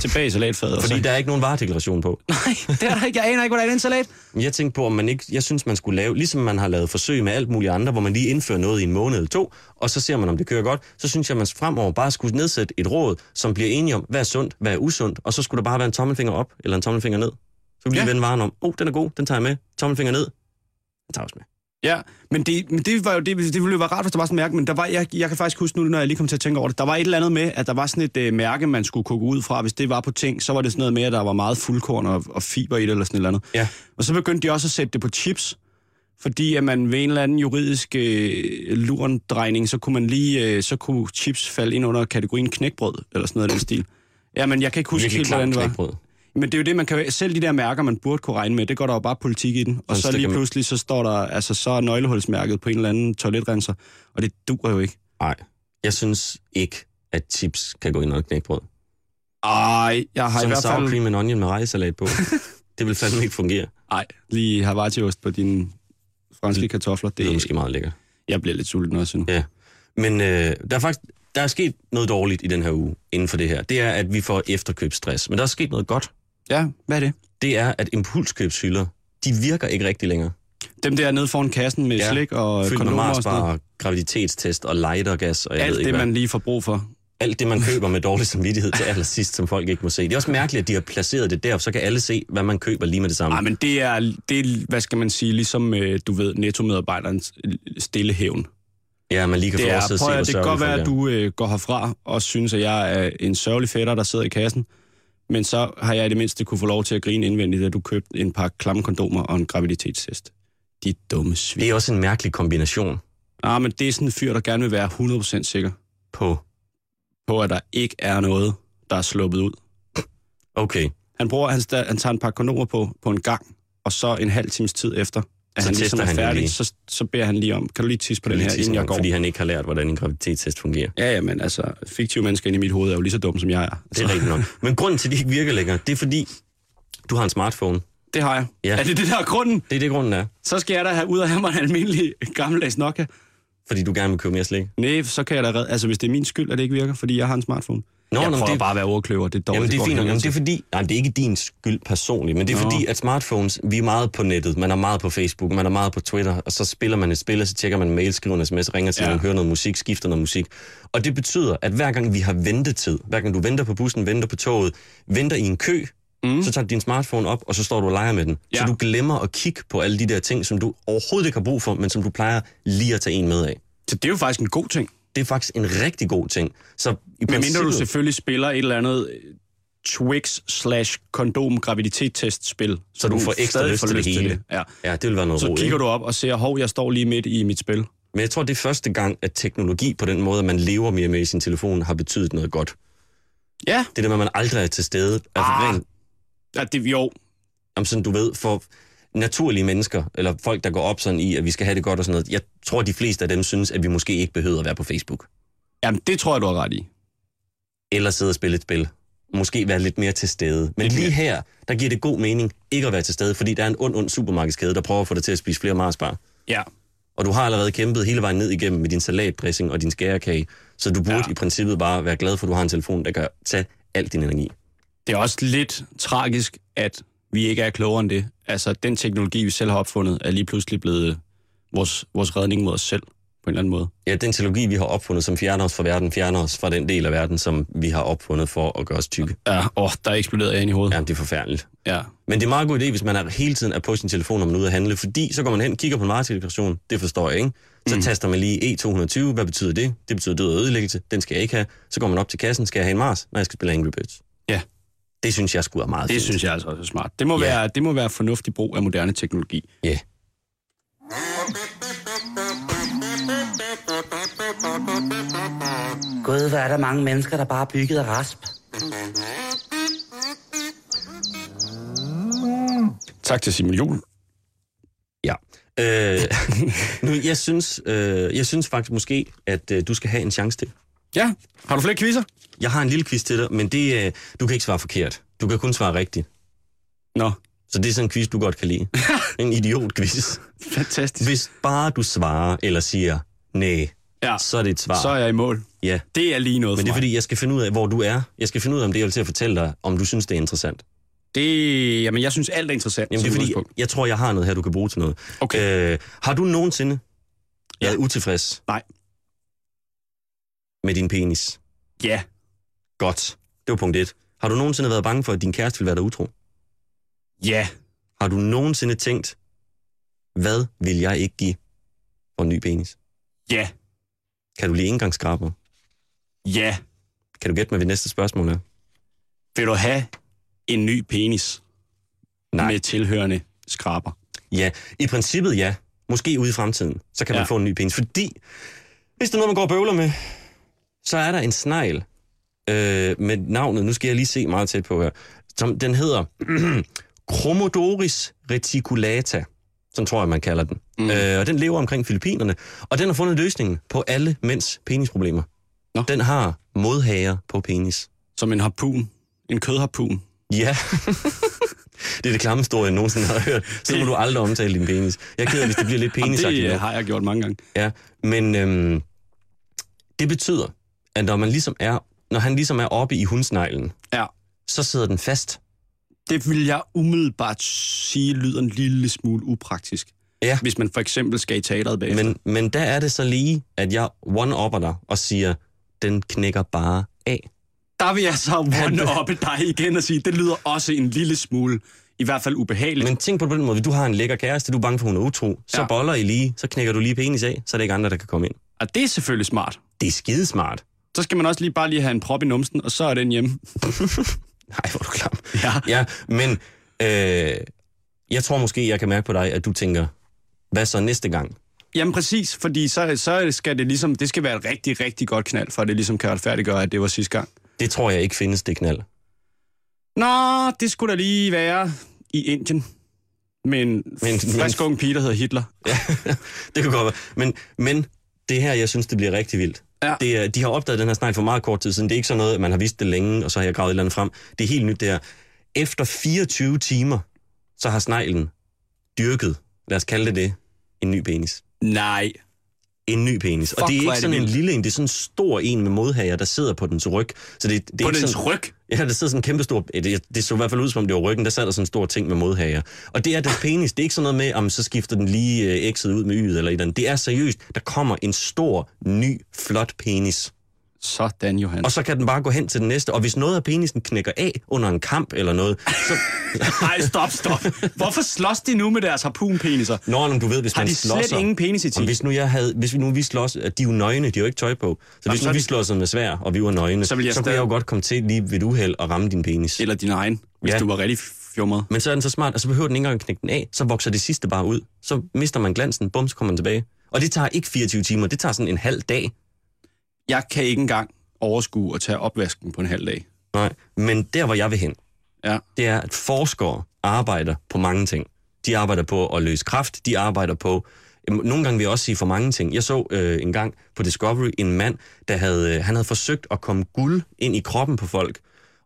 S3: Tilbage i salatfadet.
S4: fordi
S3: og så...
S4: der er ikke nogen varedeklaration på.
S3: Nej, det er der ikke. Jeg aner ikke, hvordan den salat.
S4: Men Jeg tænkte på, om man ikke, jeg synes, man skulle lave, ligesom man har lavet forsøg med alt muligt andre, hvor man lige indfører noget i en måned eller to, og så ser man, om det kører godt. Så synes jeg, man fremover bare skulle nedsætte et råd, som bliver enige om, hvad er sundt, hvad er usundt, og så skulle der bare være en tommelfinger op eller en tommelfinger ned. Så kan vi lige
S3: Ja.
S4: vende varen om, oh, den er god, den tager jeg med, tommelfinger ned, den tager jeg også med.
S3: Ja, men det, men det var jo det, det ville jo være rart, hvis der var sådan et mærke, men der var, jeg, jeg kan faktisk huske nu, når jeg lige kom til at tænke over det, der var et eller andet med, at der var sådan et øh, mærke, man skulle koge ud fra, hvis det var på ting, så var det sådan noget med, at der var meget fuldkorn og, og fiber i det, eller sådan et eller andet.
S4: Ja.
S3: Og så begyndte de også at sætte det på chips, fordi at man ved en eller anden juridisk øh, lurendrejning, så kunne man lige, øh, så kunne chips falde ind under kategorien knækbrød, eller sådan noget af den stil. Ja, men jeg kan ikke huske
S4: Virkelig
S3: helt, hvordan
S4: klamt
S3: det var.
S4: knækbrød.
S3: Men det er jo det, man kan selv de der mærker, man burde kunne regne med, det går der jo bare politik i den. Og
S4: Sådan
S3: så lige
S4: stikker man-
S3: pludselig, så står der, altså så er nøglehulsmærket på en eller anden toiletrenser, og det duer jo ikke.
S4: Nej, jeg synes ikke, at chips kan gå ind under knækbrød.
S3: Ej, jeg har
S4: Som
S3: i
S4: en
S3: hvert
S4: sour
S3: fald...
S4: cream and onion med rejsalat på. det vil fandme ikke fungere.
S3: Ej, lige havartiost på dine franske kartofler,
S4: Det er
S3: det,
S4: måske meget lækkert.
S3: jeg bliver lidt sulten også nu.
S4: Ja. Men øh, der er faktisk der er sket noget dårligt i den her uge inden for det her. Det er, at vi får efterkøbsstress. Men der er sket noget godt.
S3: Ja, hvad er det?
S4: Det er, at impulskøbshylder, de virker ikke rigtig længere.
S3: Dem der nede foran kassen med
S4: Ja,
S3: slik og
S4: Fyldt med
S3: kondomer og sådan
S4: marsbar,
S3: noget.
S4: og graviditetstest og lightergas og jeg ved
S3: Alt
S4: ikke
S3: det,
S4: hvad.
S3: man lige får brug for.
S4: Alt det, man køber med dårlig samvittighed til allersidst, som folk ikke må se. Det er også mærkeligt, at de har placeret det der, for så kan alle se, hvad man køber lige med det samme.
S3: Nej, men det er, det er, hvad skal man sige, ligesom, øh, du ved, nettomedarbejderens stille hævn.
S4: Ja, man lige kan få
S3: Det, er,
S4: lov til at se,
S3: prøv,
S4: hvor
S3: at- det kan godt
S4: sørgeligt
S3: være,
S4: folk er.
S3: at du øh, går herfra og synes, at jeg er en sørgelig fætter, der sidder i kassen. Men så har jeg i det mindste kunne få lov til at grine indvendigt, at du købte en par klamme kondomer og en graviditetstest. De dumme svin.
S4: Det er også en mærkelig kombination
S3: Ah, men det er sådan en fyr, der gerne vil være 100% sikker
S4: på...
S3: på, at der ikke er noget, der er sluppet ud.
S4: Okay.
S3: Han, bruger, han, sta- han tager en par kondomer på, på en gang, og så en halv times tid efter, at
S4: Så
S3: han ligesom
S4: tester
S3: er
S4: han den
S3: færdig,
S4: lige.
S3: så, så beder han lige om, kan du lige tisse på
S4: Lige
S3: den her, inden
S4: tidspunkt,
S3: jeg går?
S4: Fordi han ikke har lært, hvordan en graviditetstest fungerer.
S3: Ja, ja, men altså, fiktive mennesker inde i mit hoved er jo lige så dumme, som jeg er.
S4: Det er rigtigt nok. Men grunden til, at de ikke virker længere, det er fordi, du har en smartphone.
S3: Det har jeg.
S4: Ja.
S3: Ja. Er det det, der er grunden?
S4: Det er det, grunden er.
S3: Så skal jeg da have ud og have mig en almindelig gammeldags Nokia.
S4: Fordi du gerne vil købe mere slik.
S3: Nej, så kan jeg da redde. Altså, hvis det er min skyld, at det ikke virker, fordi jeg har en smartphone.
S4: Nå,
S3: jeg
S4: nå, men
S3: prøver
S4: det-
S3: bare at være overkløver. Det er dårligt.
S4: Jamen, det er
S3: går
S4: fint nok.
S3: helvede
S4: Jamen, det er
S3: til.
S4: fordi, nej, det er ikke din skyld personligt, men det er
S3: Nå.
S4: fordi, at smartphones, vi er meget på nettet, man er meget på Facebook, man er meget på Twitter, og så spiller man et spil, og så tjekker man en mail, skriver en sms, ringer til ja.
S3: Ja.
S4: nogen, hører noget musik, skifter noget musik. Og det betyder, at hver gang vi har ventetid, hver gang du venter på bussen, venter på toget, venter i en kø, mm. så tager du din smartphone op, og så står du og leger med den. Ja. Så
S3: Ja.
S4: du glemmer at kigge på alle de der ting, som du overhovedet ikke har brug for, men som du plejer lige at tage en med af.
S3: Så det er jo faktisk en god ting.
S4: Det er faktisk en rigtig god ting. Så i
S3: Men mindre du
S4: princippet-
S3: selvfølgelig spiller et eller andet øh, Twix slash kondom graviditetstest spil.
S4: Så du får ekstra lyst til det hele.
S3: Ja.
S4: Ja, det vil være noget
S3: Så
S4: rod,
S3: kigger
S4: ikke?
S3: du op og ser, hov, jeg står lige midt i mit spil.
S4: Men jeg tror, det er første gang, at teknologi på den måde, at man lever mere med i sin telefon, har betydet noget godt.
S3: Ja,
S4: Det der med, at man aldrig er til stede, er
S3: Ah.
S4: rent,
S3: ja det, jo,
S4: om sådan, du ved, for naturlige mennesker, eller folk, der går op sådan i, at vi skal have det godt og sådan noget. Jeg tror, de fleste af dem synes, at vi måske ikke behøver at være på Facebook.
S3: Jamen, det tror jeg, du har ret i.
S4: Eller sidde og spille et spil. Måske være lidt mere til stede. Men lige her, der giver det god mening ikke at være til stede, fordi der er en ond, ond supermarkedskæde, der prøver at få dig til at spise flere Marsbar.
S3: Ja.
S4: Og du har allerede kæmpet hele vejen ned igennem med din salatdressing og din skærekage, så du burde ja.
S3: Ja.
S4: i princippet bare være glad for, at du har en telefon, der kan tage al din energi.
S3: Det er også lidt tragisk, at vi ikke er klogere end det. Altså, den teknologi, vi selv har opfundet, er lige pludselig blevet øh, vores, vores redning mod os selv, på en eller anden måde.
S4: Ja, den teknologi, vi har opfundet, som fjerner os fra verden, fjerner os fra den del af verden, som vi har opfundet for at gøre os tykke.
S3: Ja, åh, der er eksploderet jeg ind i hovedet.
S4: Ja, det er forfærdeligt.
S3: Ja.
S4: Men det er en meget god idé, hvis man er, hele tiden er på sin telefon, når man er ude at handle, fordi så går man hen, kigger på en varedeklaration, det forstår jeg ikke. Så mm. taster man lige E220, hvad betyder det? Det betyder død og ødelæggelse, den skal jeg ikke have. Så går man op til kassen, skal jeg have en Mars, når jeg skal spille Angry Birds.
S3: Ja.
S4: Det synes jeg skulle er meget
S3: Det
S4: fint.
S3: synes jeg altså også er smart. Det må,
S4: Ja.
S3: være, det må være fornuftig brug af moderne teknologi.
S4: Ja. Yeah.
S5: Gud, hvor er der mange mennesker, der bare er bygget af rasp.
S3: Tak til Simon Jol.
S4: Ja. Øh, nu, jeg, synes, øh, jeg synes faktisk måske, at øh, du skal have en chance til.
S3: Ja, har du flere quizzer?
S4: Jeg har en lille quiz til dig, men det, øh, du kan ikke svare forkert. Du kan kun svare rigtigt.
S3: Nå,
S4: Så det er sådan en quiz, du godt kan lide. en idiot-quiz.
S3: fantastisk.
S4: Hvis bare du svarer eller siger nej,
S3: Ja,
S4: så er det et svar.
S3: så er jeg i mål.
S4: Ja.
S3: Det er lige noget
S4: Men det
S3: for
S4: er fordi, jeg skal finde ud af, hvor du er. Jeg skal finde ud af, om det er til at fortælle dig, om du synes, det er interessant.
S3: mig. Det, jamen, jeg synes, alt er interessant.
S4: Jamen, det er
S3: som
S4: fordi,
S3: udgangspunkt.
S4: jeg tror, jeg har noget her, du kan bruge til noget.
S3: Okay.
S4: Øh, har du nogensinde
S3: Ja.
S4: været utilfreds
S3: Nej.
S4: med din penis?
S3: Ja,
S4: Godt. Det var punkt 1. Har du nogensinde været bange for, at din kæreste ville være dig utro?
S3: ja.
S4: Har du nogensinde tænkt, hvad vil jeg ikke give for en ny penis?
S3: Ja,
S4: Kan du lige engangskraber?
S3: ja.
S4: Kan du gætte mig, hvad næste spørgsmål er?
S3: Vil du have en ny penis?
S4: Nej.
S3: Med tilhørende skraber.
S4: Ja, i princippet ja. Måske ude i fremtiden, så kan man
S3: Ja.
S4: få en ny penis. Fordi, hvis det er noget, man går og bøvler med, så er der en snegl øh, med navnet, nu skal jeg lige se meget tæt på her, som den hedder Chromodoris reticulata, sådan tror jeg, man kalder den. Mm. Øh, og den lever omkring Filippinerne, og den har fundet løsningen på alle mænds penisproblemer.
S3: Nå.
S4: Den har modhager på penis.
S3: Som en harpun. En kødharpun.
S4: Ja. det er det klamme historie, jeg nogensinde har hørt. Så må du aldrig omtale din penis. Jeg er ked af, hvis det bliver lidt penis
S3: Jamen, det øh, har jeg gjort mange gange.
S4: Ja, men øhm, det betyder, at når, man ligesom er, når han ligesom er oppe i hundsneglen,
S3: Ja.
S4: så sidder den fast.
S3: Det vil jeg umiddelbart sige lyder en lille smule upraktisk.
S4: Ja.
S3: Hvis man for eksempel skal i teateret bagefter.
S4: Men, men der er det så lige, at jeg one-upper dig og siger, den knækker bare af.
S3: Der vil jeg så one oppe dig igen og sige, det lyder også en lille smule, i hvert fald ubehageligt.
S4: Men tænk på det på den måde, hvis du har en lækker kæreste, du er bange for, hun er utro, så ja.
S3: Ja.
S4: boller I lige, så knækker du lige penis af, så er der ikke andre, der kan komme ind.
S3: Og det er selvfølgelig smart.
S4: Det er skidesmart.
S3: Så skal man også lige bare lige have en prop i numsen, og så er den hjemme.
S4: Nej, hvor er du klam.
S3: Ja.
S4: Ja, men øh, jeg tror måske, jeg kan mærke på dig, at du tænker, hvad så næste gang?
S3: Jamen præcis, fordi så, så skal det ligesom, det skal være et rigtig, rigtig godt knald, for at det ligesom kan retfærdiggøre, at det var sidste gang.
S4: Det tror jeg ikke findes, det knald.
S3: Nå, det skulle da lige være i Indien. Men, men
S4: men-
S3: frisk ung pige, der hedder Hitler.
S4: Ja, det kan godt være. Men, men det her, jeg synes, det bliver rigtig vildt.
S3: Ja.
S4: Det er, de har opdaget den her snegl for meget kort tid siden. Det er ikke sådan noget, at man har vidst det længe, og så har jeg gravet et eller andet frem. Det er helt nyt, det her. Efter 24 timer, så har sneglen dyrket, lad os kalde det det, en ny penis.
S3: Nej.
S4: En ny penis.
S3: Fuck,
S4: og det er
S3: hvor
S4: ikke
S3: er det
S4: sådan en
S3: vildt.
S4: lille en, det er sådan en stor en med modhager, der sidder på dens ryg. Så det, det er
S3: På
S4: ikke
S3: dens
S4: sådan,
S3: ryg.
S4: Ja, der sidder sådan en kæmpe stor... ja, Det, det så i hvert fald ud, som om det var ryggen. Der sad der sådan en stor ting med modhager. Og det er dens penis. Det er ikke sådan noget med, om så skifter den lige øh, X'et ud med Y'et eller et eller andet. Det er seriøst. Der kommer en stor, ny, flot penis.
S3: Sådan, Johan.
S4: Og så kan den bare gå hen til den næste. Og hvis noget af penisen knækker af under en kamp eller noget, så...
S3: Nej, stop, stop. Hvorfor slås de nu med deres harpunpeniser?
S4: Nå, men du ved, hvis
S3: Har
S4: man
S3: de
S4: slåsser...
S3: slet ingen penisetik?
S4: Og hvis nu jeg havde, hvis vi nu vi slås, at de er jo nøgne, de har jo ikke tøj på. Så hvis
S3: så
S4: nu
S3: er
S4: vi
S3: det-
S4: slås med svær, og vi var nøgne,
S3: Så
S4: så,
S3: vil jeg
S4: så kunne
S3: stadig-
S4: jeg jo godt komme til lige ved et uheld og ramme din penis.
S3: Eller din egen, hvis ja.
S4: Ja.
S3: du var rigtig fjumret.
S4: Men så er den så smart, og så behøver den ikke engang at knække den af. Så vokser det sidste bare ud. Så mister man glansen, bum, så kommer den tilbage. Og det tager ikke 24 timer, det tager sådan en halv dag.
S3: Jeg kan ikke engang overskue at tage opvasken på en halv dag.
S4: Nej. Men der, hvor jeg vil hen,
S3: Ja.
S4: det er, at forskere arbejder på mange ting. De arbejder på at løse kraft, de arbejder på... Nogle gange vil jeg også sige for mange ting. Jeg så øh, en gang på Discovery en mand, der havde, øh, han havde forsøgt at komme guld ind i kroppen på folk,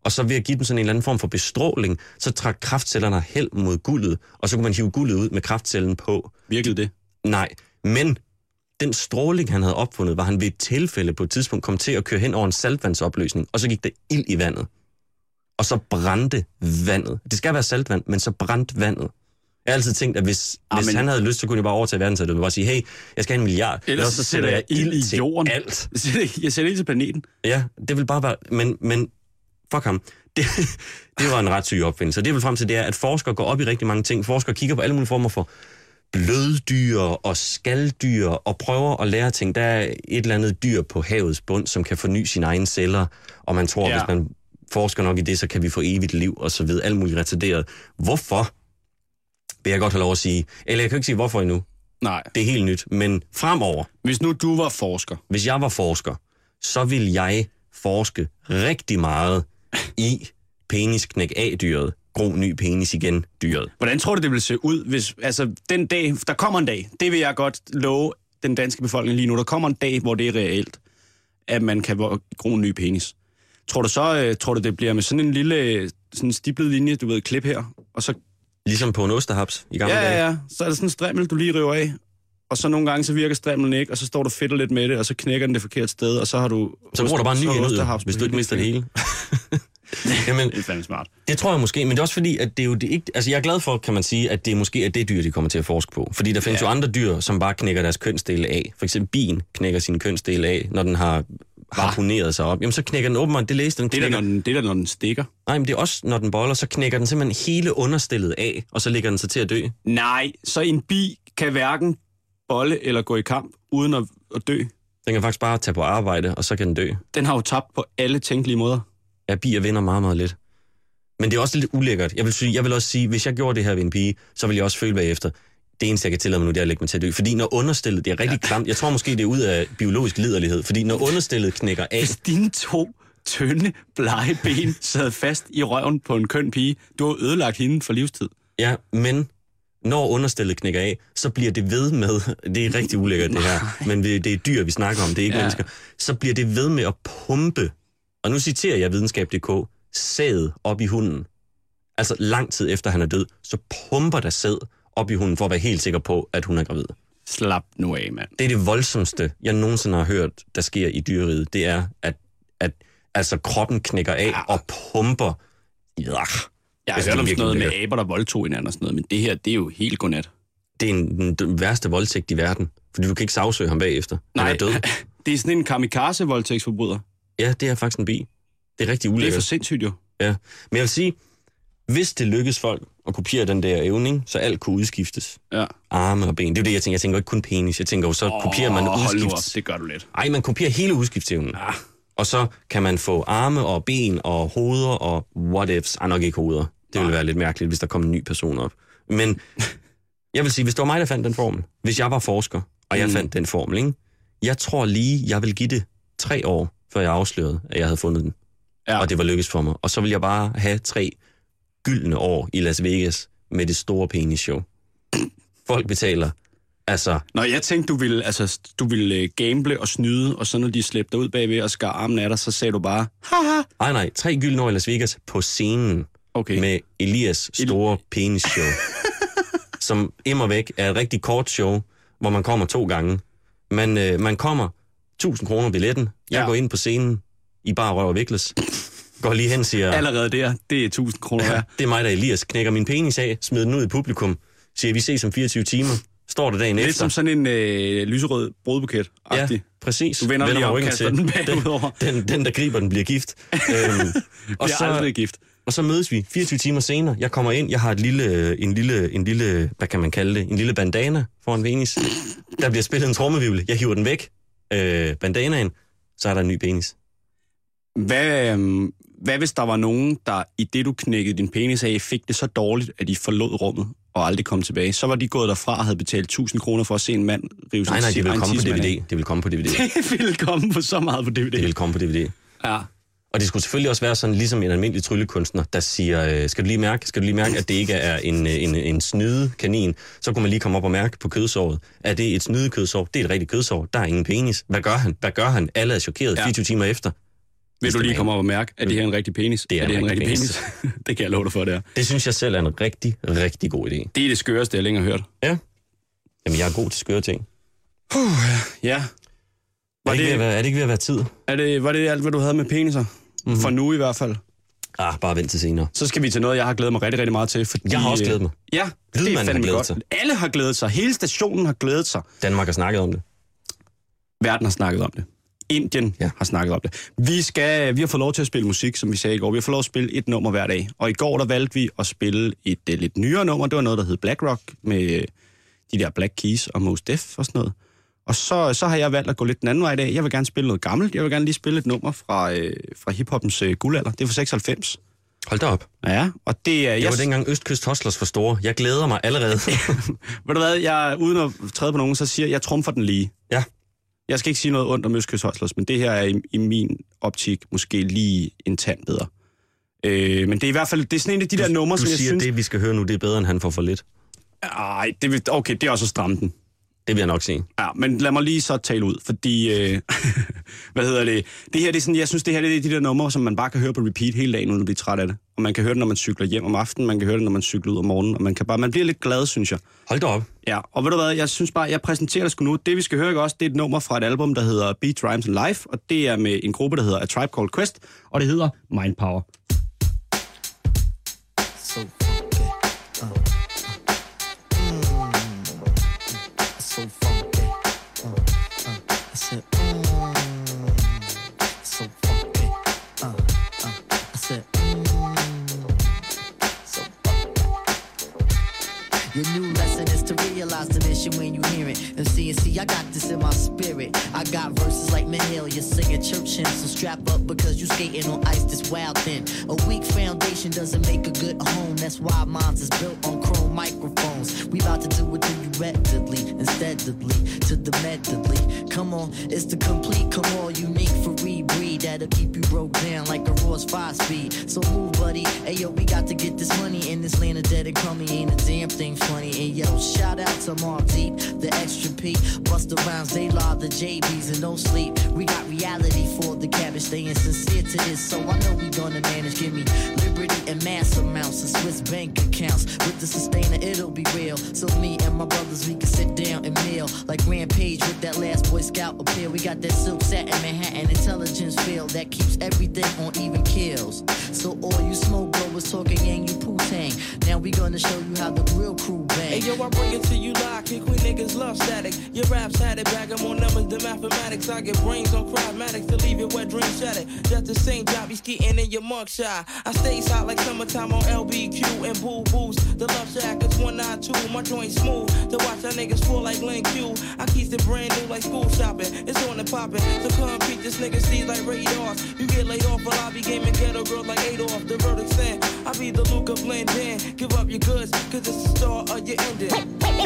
S4: og så ved at give dem sådan en eller anden form for bestråling, så trak kraftcellerne hen mod guldet, og så kunne man hive guldet ud med kraftcellen på.
S3: Virkelig det?
S4: Nej, men den stråling, han havde opfundet, var han ved et tilfælde på et tidspunkt kom til at køre hen over en saltvandsopløsning, og så gik der ild i vandet. Og så brændte vandet. Det skal være saltvand, men så brændte vandet. Jeg har altid tænkt, at hvis,
S3: Ah,
S4: ah, hvis
S3: men-
S4: han havde lyst, så kunne jeg bare overtage verden, så jeg bare sige, hey, jeg skal have en milliard,
S3: Ellers
S4: ellers så
S3: så
S4: sætter jeg
S3: sætter jeg
S4: ild i jorden. alt.
S3: Jeg sætter ikke- Jeg sætter ikke til planeten.
S4: Ja, det vil bare være... Men, men fuck ham. Det, det var en ret syg opfindelse. Og det, jeg vil frem til, det er, at forskere går op i rigtig mange ting. Forskere kigger på alle mulige former for bløddyr og skalddyr og prøver at lære ting. Der er et eller andet dyr på havets bund, som kan forny sine egne celler, og man tror,
S3: Ja.
S4: ja. hvis man forsker nok i det, så kan vi få evigt liv og så videre. Alt muligt retarderet. Hvorfor? Vil jeg godt have lov at sige. Eller jeg kan jo ikke sige, hvorfor endnu.
S3: Nej.
S4: Det er helt nyt. Men fremover,
S3: Hvis nu du var forsker,
S4: hvis jeg var forsker, så ville jeg forske rigtig meget i penisknæk A-dyret, gro ny penis igen dyret.
S3: hvordan tror du, det ville se ud, hvis altså, den dag, der kommer en dag, det vil jeg godt love den danske befolkning lige nu, der kommer en dag, hvor det er reelt, at man kan vo- gro en ny penis. Tror du så, øh, tror du, det bliver med sådan en lille øh, sådan en stiplet linje, du ved, klip her, og så
S4: Ligesom på en osterhaps i gamle
S3: Ja,
S4: dage.
S3: ja, ja. Så er der sådan en strimmel, du lige river af. Og så nogle gange, så virker strimlen ikke, og så står du fedt lidt med det, og så knækker den det forkerte sted, og så har du...
S4: Så bruger du bare en
S3: så
S4: ny
S3: har du
S4: enhed,
S3: Osterhaps
S4: hvis
S3: på
S4: du ikke mister det hele. Jamen,
S3: Det er fandme smart.
S4: det tror jeg måske, men det er også fordi, at det er jo det ikke... Altså, jeg er glad for, kan man sige, at det måske er det dyr, de kommer til at forske på. Fordi der findes ja. jo andre dyr, som bare knækker deres kønsdele af. For eksempel bien knækker sin kønsdele af, når den har harponeret sig op. Jamen, så knækker den åbenbart, det læste den,
S3: Det er,
S4: knækker
S3: da, når den, det er da, når den stikker.
S4: Nej, men det er også, når den boller, så knækker den simpelthen hele understillet af, og så ligger den så til at dø.
S3: Nej, så en bi kan hverken bolle eller gå i kamp, uden at, at dø.
S4: Den kan faktisk bare tage på arbejde, og så kan den dø.
S3: Den har jo tabt på alle tænkelige måder.
S4: Ja, bier vinder meget, meget lidt. Men det er også lidt ulækkert. Jeg vil, sige, jeg vil også sige, hvis jeg gjorde det her ved en pige, så vil jeg også føle bagefter, det eneste, jeg kan tillade mig nu, det er at lægge mig til at dø. Fordi når understillet, det er rigtig klamt. Jeg tror måske, det er ud af biologisk liderlighed. Fordi når understillet knækker af,
S3: Hvis dine to tynde, blege ben sad fast i røven på en køn pige, du har ødelagt hende for livstid.
S4: Ja, men når understillet knækker af, så bliver det ved med, det er rigtig ulækkert det her, men vi- det er dyr, vi snakker om, det er ikke
S3: Ja.
S4: ja. mennesker, så bliver det ved med at pumpe, og nu citerer jeg videnskab.dk, sæd op i hunden. Altså lang tid efter han er død, så pumper der sæd op i hunden for at være helt sikker på, at hun er gravid.
S3: Slap nu af, mand.
S4: Det er det voldsomste, jeg nogensinde har hørt, der sker i dyreriet, det er, at, at altså, kroppen knækker af ja. og pumper. Ja,
S3: Jeg har
S4: Altså,
S3: hørt
S4: det er
S3: om sådan
S4: virkelig
S3: noget med
S4: ulækkert.
S3: aber, der voldtog hinanden og sådan noget, men det her, det er jo helt godnat.
S4: det er en, den, den værste voldtægt i verden. Fordi du kan ikke sagsøge ham bagefter. Nej. Han er død.
S3: det er sådan en kamikaze-voldtægtsforbryder.
S4: Ja, det er faktisk en bi. Det er rigtig
S3: Det er for
S4: ulækkert.
S3: sindssygt jo.
S4: Ja. Men jeg vil sige, hvis det lykkes folk at kopiere den der evne, ikke, så alt kunne udskiftes.
S3: Ja.
S4: Arme og ben. Det er jo det, jeg tænker. Jeg tænker jo ikke kun penis. Jeg tænker jo, så kopierer man
S3: Åh, hold nu op,
S4: udskifts...
S3: det gør du lidt.
S4: Ej, man kopierer hele udskiftsevnen. Ah. Og så kan man få arme og ben og hoveder og what ifs. Ej, nok ikke hoveder. Det ville være lidt mærkeligt, hvis der kom en ny person op. Men jeg vil sige, hvis det var mig, der fandt den formel, hvis jeg var forsker, og jeg
S3: Mm.
S4: mm. fandt den formel, ikke? jeg tror lige, jeg vil give det tre år, før jeg afslørede, at jeg havde fundet den.
S3: Ja.
S4: ja. og det var lykkedes for mig. Og så ville jeg bare have tre gyldne år i Las Vegas med det store penisshow. Folk betaler. Altså,
S3: Nå, jeg tænkte, du ville, altså, du ville øh, gamble og snyde, og så når de slæbte dig ud bagved og skar armen af dig, så sagde du bare, haha.
S4: nej nej, tre gyldne år i Las Vegas på scenen
S3: Okay.
S4: med Elias store penisshow, som immer væk er et rigtig kort show, hvor man kommer to gange. Man, øh, man kommer 1000 kroner billetten. Jeg
S3: Ja.
S4: ja. går ind på scenen i bare røv og vikles. Går lige hen og siger,
S3: Allerede der, det er 1000 kroner værd.
S4: det er mig, der er Elias, knækker min penis af, smider den ud i publikum, siger, vi ses om 24 timer, står der dagen
S3: Lidt
S4: efter.
S3: som sådan en øh, lyserød brødbuket.
S4: ja,
S3: Ja.
S4: præcis.
S3: Du vender lige
S4: mig
S3: om,
S4: ryggen
S3: kaster
S4: til.
S3: den bagover.
S4: den, den, den, der griber den, bliver gift. øhm, og,
S3: Jeg er aldrig
S4: så,
S3: gift.
S4: og så mødes vi 24 timer senere. Jeg kommer ind, jeg har et lille, øh, en, lille, en lille, hvad kan man kalde det, en lille bandana foran penis. Der bliver spillet en trommevivle. Jeg hiver den væk, øh, bandanaen, så er der en ny penis.
S3: Hvad, øhm, hvad hvis der var nogen, der i det, du knækkede din penis af, fik det så dårligt, at de forlod rummet og aldrig kom tilbage? Så var de gået derfra og havde betalt 1000 kroner for at se en mand rive
S4: Nej, nej,
S3: sin
S4: det vil
S3: egen
S4: komme på
S3: tidsmand
S4: DVD.
S3: af.
S4: Det vil komme på DVD.
S3: Det ville komme på så meget på DVD.
S4: Det vil komme på DVD.
S3: Ja.
S4: Og det skulle selvfølgelig også være sådan, ligesom en almindelig tryllekunstner, der siger, øh, skal du lige mærke, skal du lige mærke, at det ikke er en, øh, en, en snyde kanin, så kunne man lige komme op og mærke på kødsåret. Er det et snyde kødsår? Det er et rigtigt kødsår. Der er ingen penis. Hvad gør han? Hvad gør han? Alle er chokeret
S3: Ja.
S4: ja. 24 timer efter.
S3: Vil du
S4: det
S3: lige
S4: er
S3: komme op og mærke, at det her er en rigtig penis?
S4: Det er en rigtig
S3: penis. det kan jeg love dig for, det er.
S4: Det synes jeg selv er en rigtig, rigtig god idé.
S3: Det er det skøreste, jeg længe har hørt.
S4: Ja. Jamen, jeg er god til skøre ting.
S3: Ja.
S4: Er
S3: Var
S4: det, ikke ved at
S3: det,
S4: være, er det ikke ved at være tid?
S3: er det, var det alt, hvad du havde med peniser?
S4: Mhm.
S3: Mm-hmm. For nu i hvert fald.
S4: Ah, bare vent til senere.
S3: Så skal vi til noget, jeg har glædet mig rigtig, rigtig meget til. Fordi,
S4: Jeg har også glædet mig.
S3: øh, Ja, det er
S4: Lydmanden har
S3: fandme
S4: glædet
S3: godt.
S4: sig.
S3: Alle har glædet sig. Hele stationen har glædet sig.
S4: Danmark har snakket om det.
S3: Verden har snakket om det. Indien ja.
S4: Ja.
S3: har snakket om det. Vi, skal, vi har fået lov til at spille musik, som vi sagde i går. Vi har fået lov at spille et nummer hver dag. Og i går der valgte vi at spille et uh, lidt nyere nummer. Det var noget, der hed Black Rock med øh, de der Black Keys og Mos Def og sådan noget. Og så, så har jeg valgt at gå lidt den anden vej i dag. Jeg vil gerne spille noget gammelt. Jeg vil gerne lige spille et nummer fra, øh, fra hiphoppens øh, guldalder. Det er fra 96.
S4: Hold da op. Det
S3: Ja, og det er...
S4: yes.
S3: Jeg,
S4: var dengang Østkyst Hostlers for store. Jeg glæder mig allerede.
S3: ved du hvad, jeg, uden at træde på nogen, så siger jeg, jeg trumfer den lige.
S4: ja.
S3: Jeg skal ikke sige noget ondt om Østkøs Hoslers, men det her er i, i min optik måske lige en tand bedre. Øh, men det er i hvert fald, det er sådan en af de der numre,
S4: Du
S3: som jeg
S4: siger,
S3: synes...
S4: det vi skal høre nu, det er bedre, end han får for lidt.
S3: Ej, det vil, okay, det er også at stramme den.
S4: Det vil jeg nok sige.
S3: Ja, men lad mig lige så tale ud, fordi... Øh, hvad hedder det? Det her, det er sådan, jeg synes, det her det er de der numre, som man bare kan høre på repeat hele dagen, uden at blive træt af det. Og man kan høre det, når man cykler hjem om aftenen, man kan høre det, når man cykler ud om morgenen, og man, kan bare, man bliver lidt glad, synes jeg.
S4: Hold da op.
S3: Ja, og ved du hvad, jeg synes bare, jeg præsenterer dig sgu nu. Det vi skal høre ikke også, det er et nummer fra et album, der hedder Beat Rhymes and Life, og det er med en gruppe, der hedder A Tribe Called Quest, og det hedder Mind Power.
S6: So funky. Uh, uh. Mm. So funky. Uh, uh. I said, mm. So funky. Uh, uh. I said, mm. So funky. Your new lesson is to realize the mission when you hear it. And see and see, I got this in my spirit. I got verses like Mahalia singing church hymns. So strap up because you skating on ice that's wild thin. A weak foundation doesn't make a good home. That's why mines is built on chrome microphones. We about to do it to you rapidly, insteadly, to the medley. Come on, it's the complete, come all unique for rebreed. That'll keep you broke down like a Royce five speed. So move, buddy. Hey yo, we got to get this money in this land of dead and crummy. Ain't a damn thing funny. And yo, shout out to Mark Deep, the extra P, Busta Rhymes, they law the JBs and don't sleep. We got reality for the cabbage, staying sincere to this. So I know we gonna manage. Give me liberty and mass amounts of Swiss bank accounts. With the sustainer, it'll be real. So me and my brothers, we can sit down and meal like Rampage with that last Boy Scout appeal. We got that silk satin Manhattan intelligence field that keeps everything on even kills. So all you smoke blowers talking and you poo tang. Now we gonna show you how the real crew bang.
S7: Hey yo, I bring it to you live, kick we niggas love static. Your raps had it back, I'm on numbers than mathematics. I get brains on chromatics to leave your wet dream shattered. Just the same job, he's getting in your mugshot. I stay hot like summertime on LBQ and Boo Boos. The love shack is 192, my joint smooth. To watch our niggas fall like Glen Q. I keep it brand new like school shopping, it's on and popping. So come peek this nigga see like radars. You get laid off a lobby game and ghetto girls like Adolf, the verdict stand. I be the Luca Blend in, give a up your goods, cause it's the start of your ending.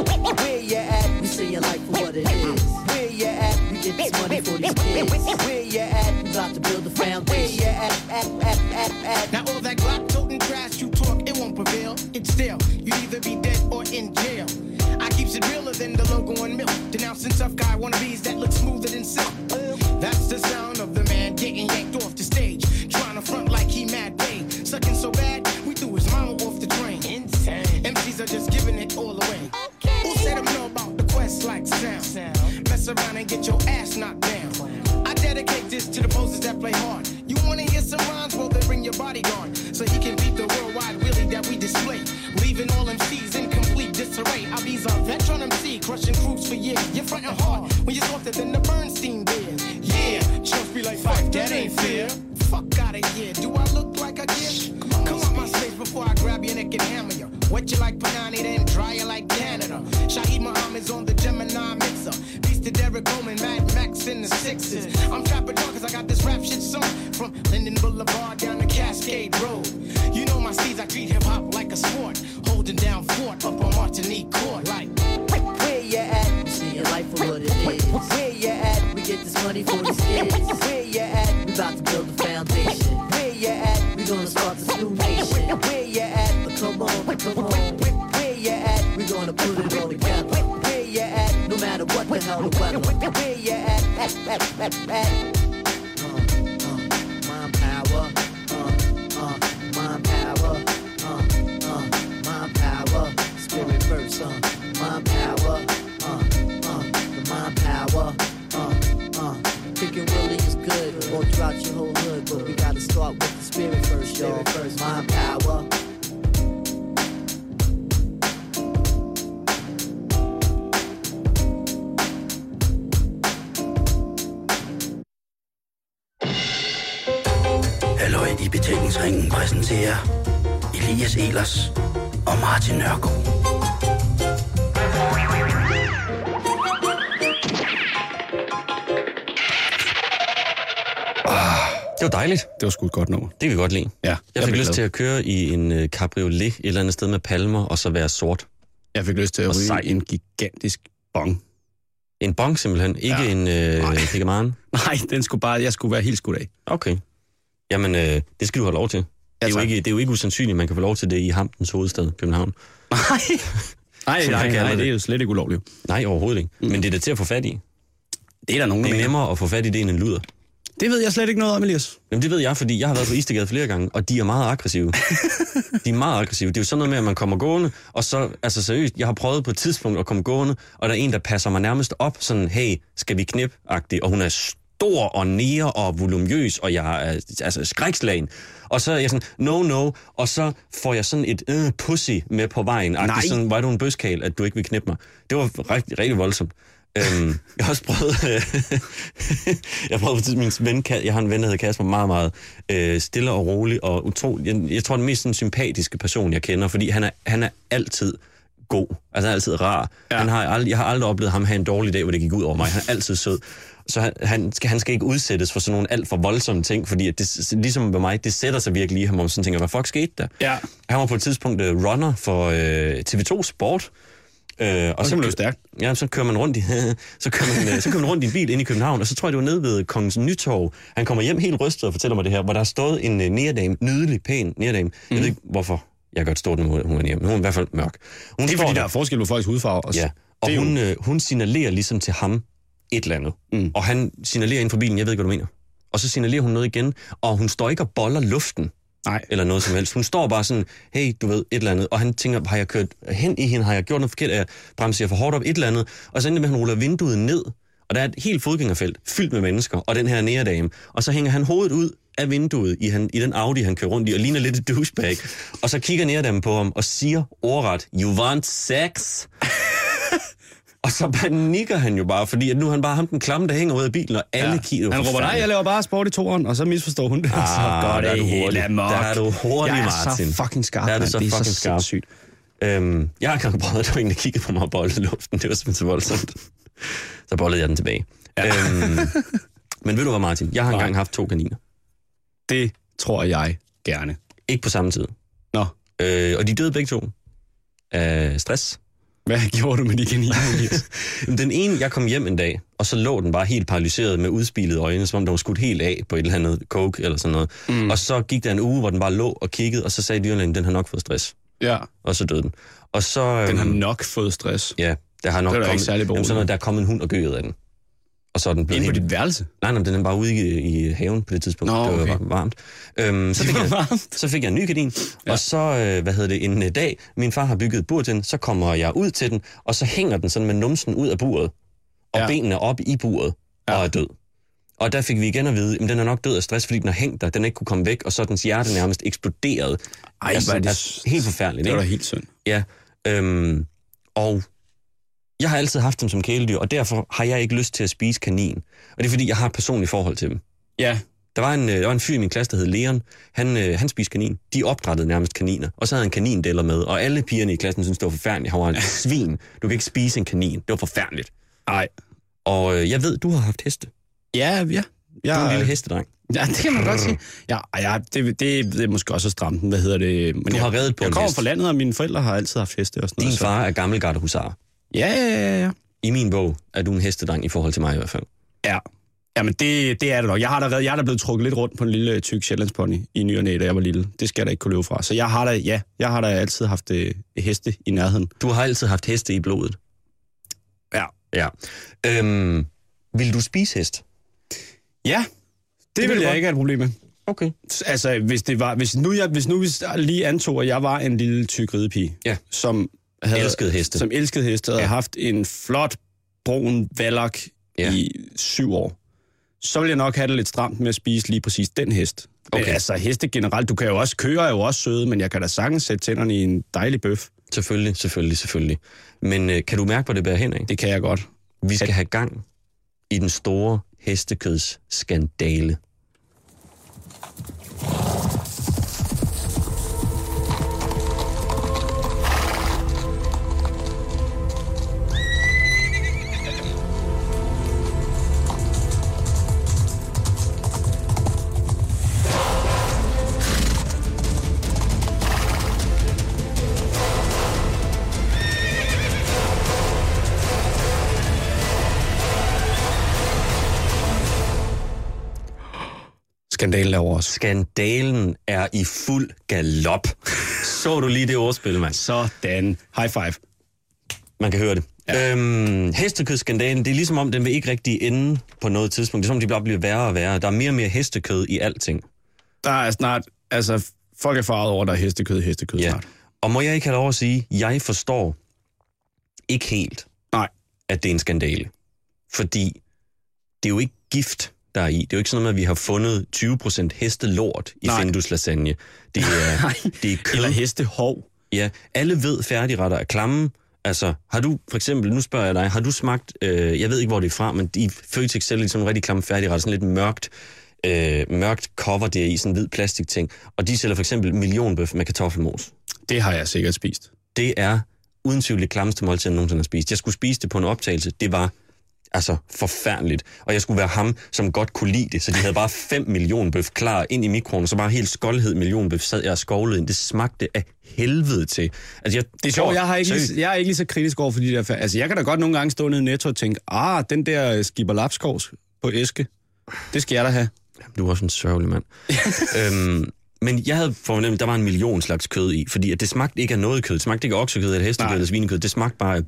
S6: Where you at? We see your life for what it is. Where you at? We get this money for these kids. Where you at? We about to build a foundation. Where you at? At, at, at, at.
S8: Now all that Glock toting trash you talk, it won't prevail. It's still, you either be dead or in jail. I keeps it realer than the logo on milk. Denouncing tough guy wannabes that look smoother than silk. That's the sound of the man getting yanked off the stage. Trying to front like he mad paid. Sucking so bad, we threw his mama off the train. Insane. MCs are just giving it all away. Who said them know about the quest like sound? Mess around and get your ass knocked down. I dedicate this to the poses that play hard. You wanna hear some rhymes? Well, then bring your bodyguard so he can beat the worldwide willy that we display. Leaving all MCs in complete disarray. I'll be a veteran MC, crushing crews for years. You're frontin' hard when you're softer than the Bernstein beers. Yeah, chumps be like, fuck, that ain't fair. Fuck out of here. Do I look like I give? Come on, my space before I grab your neck and hammer you. Wet you like Panani, then dry you like Canada. Shaheed Muhammad's on the Gemini mixer. Beast to Derek Bowman, Mad Max in the sixes. I'm trapping on cause I got this rap shit song from Linden Boulevard down to Cascade Road. You know my seeds, I treat hip hop like a sport. Holding down fort up on Martinique Court like.
S6: Where you at? We see your life for what it is. Where you at? We get this money for these kids. Where you at? We about to build a foundation. Where you at? We gonna start this new nation. Where you at? But come on, but come on. Where you at? We gonna put it all together. Where you at? No matter what the hell the weather. Where you at? At, at, at, at. Uh, uh, mind power. Uh, uh, mind power. Uh, uh, mind power. Spirit first. Uh, mind power. Uh, uh, the mind power. Uh, uh, kicking really is good all throughout your whole hood, but we gotta start with the spirit first, y'all. First, mind power.
S2: Halløj i betalingsringen præsenterer Elias Elers og Martin Nørgaard.
S4: Det var dejligt.
S3: Det var sgu et godt nummer.
S4: Det kan vi godt lide.
S3: Ja,
S4: Jeg fik
S3: blev
S4: lyst
S3: glad.
S4: til at køre i en øh, cabriolet et eller andet sted med palmer, og så være sort.
S3: Jeg fik lyst til at
S4: Og
S3: ryge
S4: sej.
S3: en gigantisk bong.
S4: En bong simpelthen, ikke
S3: Ja.
S4: en øh,
S3: Nej.
S4: pigamaren.
S3: Nej, den skulle bare, jeg skulle være helt skudt af.
S4: Okay. Jamen, øh, det skal du have lov til. Det er, jo
S3: tak.
S4: ikke, det er jo ikke usandsynligt, man kan få lov til det i Hamtens hovedstad, København.
S3: Nej,
S4: Som jeg
S3: nej,
S4: kalder
S3: nej, det.
S4: det.
S3: det er jo slet ikke ulovligt.
S4: Nej, overhovedet ikke. Men det er da til at få fat i.
S3: Det er der nogen,
S4: Det
S3: der
S4: er
S3: mener.
S4: nemmere at få fat i det end en luder.
S3: Det ved jeg slet ikke noget om, Elias.
S4: Jamen det ved jeg, fordi jeg har været på Istegade flere gange, og de er meget aggressive. De er meget aggressive. Det er jo sådan noget med, at man kommer gående, og så, altså seriøst, jeg har prøvet på et tidspunkt at komme gående, og der er en, der passer mig nærmest op, sådan, hey, skal vi knip -agtig. Og hun er stor og nære og volumøs, og jeg er altså, skrækslagen. Og så er jeg sådan, no, no, og så får jeg sådan et øh, pussy med på vejen. Nej.
S3: Nej.
S4: Sådan, var du en bøskal, at du ikke vil knippe mig? Det var rigtig, rigtig voldsomt. øhm, jeg har også prøvet... Øh, jeg har prøvet på tidspunkt, min ven, Ka- jeg har en ven, der hedder Kasper, meget, meget øh, stille og rolig, og utrolig, jeg, jeg tror, den mest sådan, sympatiske person, jeg kender, fordi han er, han er altid god. Altså, han er altid rar. Ja. Han har ald- jeg har aldrig oplevet ham have en dårlig dag, hvor det gik ud over mig. Han er altid sød. Så han, han, skal, han skal ikke udsættes for sådan nogle alt for voldsomme ting, fordi at det, s- ligesom ved mig, det sætter sig virkelig i ham, og man sådan tænker, hvad fuck skete der?
S3: Ja.
S4: Han var på et tidspunkt øh, runner for øh, TV2 Sport, Øh, og
S3: kan man løbe
S4: kø-
S3: stærkt.
S4: Ja, så kører man rundt i, så kører man, øh, så kører man rundt i en bil ind i København, og så tror jeg, det var nede ved Kongens Nytorv. Han kommer hjem helt rystet og fortæller mig det her, hvor der har stået en øh, nærdame, nydelig, pæn nærdame. Jeg
S3: Mm.
S4: ved ikke, hvorfor jeg godt stå den, hun hun er nærdame. Hun er i hvert fald mørk. Hun
S3: Det er
S4: står
S3: fordi, der er forskel på folks hudfarve. Og
S4: Ja, og
S3: det er
S4: hun,
S3: jo-
S4: øh, hun signalerer ligesom til ham et eller andet. Mm. Og han signalerer ind for bilen, jeg ved ikke, hvad du mener. Og så signalerer hun noget igen, og hun står ikke og boller luften
S3: Nej.
S4: eller noget som helst. Hun står bare sådan, hey, du ved, et eller andet. Og han tænker, har jeg kørt hen i hende? Har jeg gjort noget forkert? Er jeg bremser jeg for hårdt op? Et eller andet. Og så ender det med, at han ruller vinduet ned, og der er et helt fodgængerfelt fyldt med mennesker, og den her næredame. Og så hænger han hovedet ud af vinduet i, han, i den Audi, han kører rundt i, og ligner lidt et douchebag. Og så kigger næredamen på ham og siger ordret, you want sex? og så panikker han jo bare, fordi at nu er han bare ham den klamme, der hænger ud af bilen, og alle ja. kigger
S3: Han råber, nej, jeg laver bare sport i toeren, og så misforstår hun det. Ah,
S4: der er du hurtig. Der er du hurtig,
S3: jeg Jeg
S4: Martin.
S3: er så fucking skarp,
S4: Der er du
S3: mand.
S4: så
S3: det er
S4: fucking
S3: så
S4: skarp.
S3: sindssygt.
S4: Øhm, jeg har engang prøvet, at der var en, der kiggede på mig og bollede i luften. Det var simpelthen så voldsomt. Så bollede jeg den tilbage. Ja. Øhm, men ved du hvad, Martin? Jeg har engang haft to kaniner.
S3: Det tror jeg gerne.
S4: Ikke på samme tid.
S3: Nå,
S4: Øh, og de døde begge to. af stress.
S3: Hvad gjorde du med de kaniner? Elias?
S4: Jamen, Den ene, jeg kom hjem en dag, og så lå den bare helt paralyseret med udspilede øjne, som om den var skudt helt af på et eller andet coke eller sådan noget. Mm. Og så gik der en uge, hvor den bare lå og kiggede, og så sagde dyrlægen, den har nok fået stress.
S3: ja,
S4: Og så døde den. Og så...
S3: den har
S4: øhm,
S3: nok fået stress.
S4: Ja, der har nok
S3: Det er da ikke
S4: kommet,
S3: særlig
S4: jamen, sådan noget, der er kommet en hund og gøet af den. Og så er den blevet
S3: Inde på
S4: helt...
S3: dit værelse?
S4: Nej, nej, den er bare ude i, i haven på det tidspunkt.
S3: Nå,
S4: det var
S3: okay.
S4: var- varmt. Øhm, så, fik jeg, så fik jeg en ny kanin, ja. og så, øh, hvad hedder det, en øh, dag, min far har bygget et bur til den, så kommer jeg ud til den, og så hænger den sådan med numsen ud af buret, og
S3: Ja.
S4: ja. benene op i buret, ja. og er død. Og der fik vi igen at vide, at den er nok død af stress, fordi den har hængt der, den ikke kunne komme væk, og så er dens hjerte nærmest eksploderet.
S3: Ej,
S4: altså,
S3: hvor er det
S4: altså, helt forfærdeligt,
S3: Det var
S4: ikke?
S3: da helt synd.
S4: Ja, øhm, og jeg har altid haft dem som kæledyr, og derfor har jeg ikke lyst til at spise kanin. Og det er fordi, jeg har et personligt forhold til dem.
S3: Ja,
S4: Der var en, øh, der var en fyr i min klasse, der hed Leon. Han, øh, han spiste kanin. De opdrættede nærmest kaniner. Og så havde han kanindeller med, og alle pigerne i klassen syntes, det var forfærdeligt. Han var en svin. Du kan ikke spise en kanin. Det var forfærdeligt.
S3: nej.
S4: Og øh, jeg ved, du har haft heste. Du
S3: Ja, ja. Jeg,
S4: er en lille hestedreng.
S3: Ja, det kan man godt sige. Ja, ej, ja det, det, det er måske også at stramme den. Hvad hedder det? Men
S4: Du
S3: jeg,
S4: har reddet på
S3: Jeg
S4: en
S3: kommer
S4: hest.
S3: fra landet, og mine forældre har altid haft heste og sådan
S4: Din
S3: noget. så-
S4: far er gammel gardehusar.
S3: Ja, ja, ja, ja.
S4: I min bog er du en hestedreng i forhold til mig i hvert fald.
S3: Ja. Jamen, det, det er det nok. Jeg har da, været, jeg er da blevet trukket lidt rundt på en lille øh, tyk Shetlandspony i ny og næ, da jeg var lille. Det skal jeg da ikke kunne løbe fra. Så jeg har da, ja, jeg har da altid haft øh, heste i nærheden.
S4: Du har altid haft heste i blodet.
S3: Ja.
S4: Ja. Øhm, vil du spise hest?
S3: Ja, det, det
S4: vil
S3: vil
S4: du
S3: jeg
S4: godt.
S3: ikke have et problem med.
S4: Okay.
S3: Altså, hvis, det var, hvis, nu jeg, hvis nu vi lige antog, at jeg var en lille tyk ridepige,
S4: Ja.
S3: som havde,
S4: Elskede heste.
S3: Som elskede heste, og ja.
S4: Ja.
S3: havde haft en flot brun valak ja.
S4: Ja.
S3: i syv år, så ville jeg nok have det lidt stramt med at spise lige præcis den hest. Okay. Men
S4: Okay.
S3: altså, heste generelt, du kan jo også, køer er jo også søde, men jeg kan da sagtens sætte tænderne i en dejlig bøf.
S4: Selvfølgelig, selvfølgelig, selvfølgelig. Men øh, kan du mærke, hvor det bærer hen af?
S3: Det kan jeg godt.
S4: Vi skal have gang i den store hestekødsskandale.
S3: Skandalen er over os.
S4: Skandalen er i fuld galop. Så du lige det ordspil, mand.
S3: Sådan. High five.
S4: Man kan høre det. Ja. Øhm, hestekødsskandalen, det er ligesom om, den vil ikke rigtig ende på noget tidspunkt. Det er som, om, de bare bliver værre og værre. Der er mere og mere hestekød i alting.
S3: Der er snart, altså, folk er farvet over, at der er hestekød, hestekød ja.
S4: Ja.
S3: snart.
S4: Og må jeg ikke have lov at sige, jeg forstår ikke helt,
S3: Nej.
S4: at det er en skandale. Fordi det er jo ikke gift, der er i. Det er jo ikke sådan noget med, at vi har fundet 20% hestelort i
S3: Nej.
S4: Findus lasagne. Det er, det er kød.
S3: Eller hestehov.
S4: Ja, alle ved, færdigretter er klamme. Altså, har du for eksempel, nu spørger jeg dig, har du smagt, øh, jeg ved ikke, hvor det er fra, men i Føtex sælger de sådan en rigtig klamme færdigretter, sådan lidt mørkt, øh, mørkt cover der i, sådan en hvid plastikting. Og de sælger for eksempel millionbøf med kartoffelmos.
S3: Det har jeg sikkert spist.
S4: Det er uden tvivl det klammeste måltid, jeg nogensinde har spist. Jeg skulle spise det på en optagelse. Det var altså forfærdeligt. Og jeg skulle være ham, som godt kunne lide det. Så de havde bare 5 millionbøf klar ind i mikroen, og så bare helt skoldhed millionbøf sad jeg og skovlede ind. Det smagte af helvede til. Altså, jeg,
S3: Det er sjovt, jeg, har ikke lige, jeg er ikke lige så kritisk over for de der... fa- Altså, jeg kan da godt nogle gange stå nede i Netto og tænke, ah, den der øh, skipper Lapskovs på æske, det skal jeg da have.
S4: Du er også en sørgelig mand. øhm, men jeg havde fornemt, at der var en million slags kød i, fordi at det smagte ikke af noget kød. Det smagte ikke af oksekød, eller hestekød,
S3: Nej.
S4: eller svinekød. Det smagte bare af...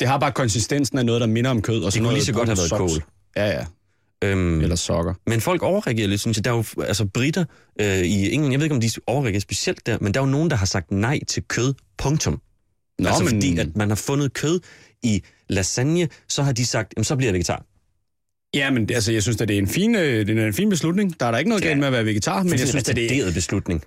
S3: Det har bare konsistensen af noget, der minder om kød. Og det
S4: kunne lige så godt have været kål.
S3: Ja, ja.
S4: Øhm,
S3: Eller sokker.
S4: Men folk overreagerer lidt, synes jeg. Der er jo altså, britter øh, i England, jeg ved ikke, om de overreagerer specielt der, men der er jo nogen, der har sagt nej til kød, punktum. Nå, altså
S3: men-
S4: men... fordi, at man har fundet kød i lasagne, så har de sagt, jamen så bliver jeg vegetar.
S3: Ja, men altså, jeg synes, at det er en fin, øh, det er en fin beslutning. Der er da ikke noget
S4: Ja. altså,
S3: galt med at være vegetar, men jeg synes, at det,
S4: er en beslutning.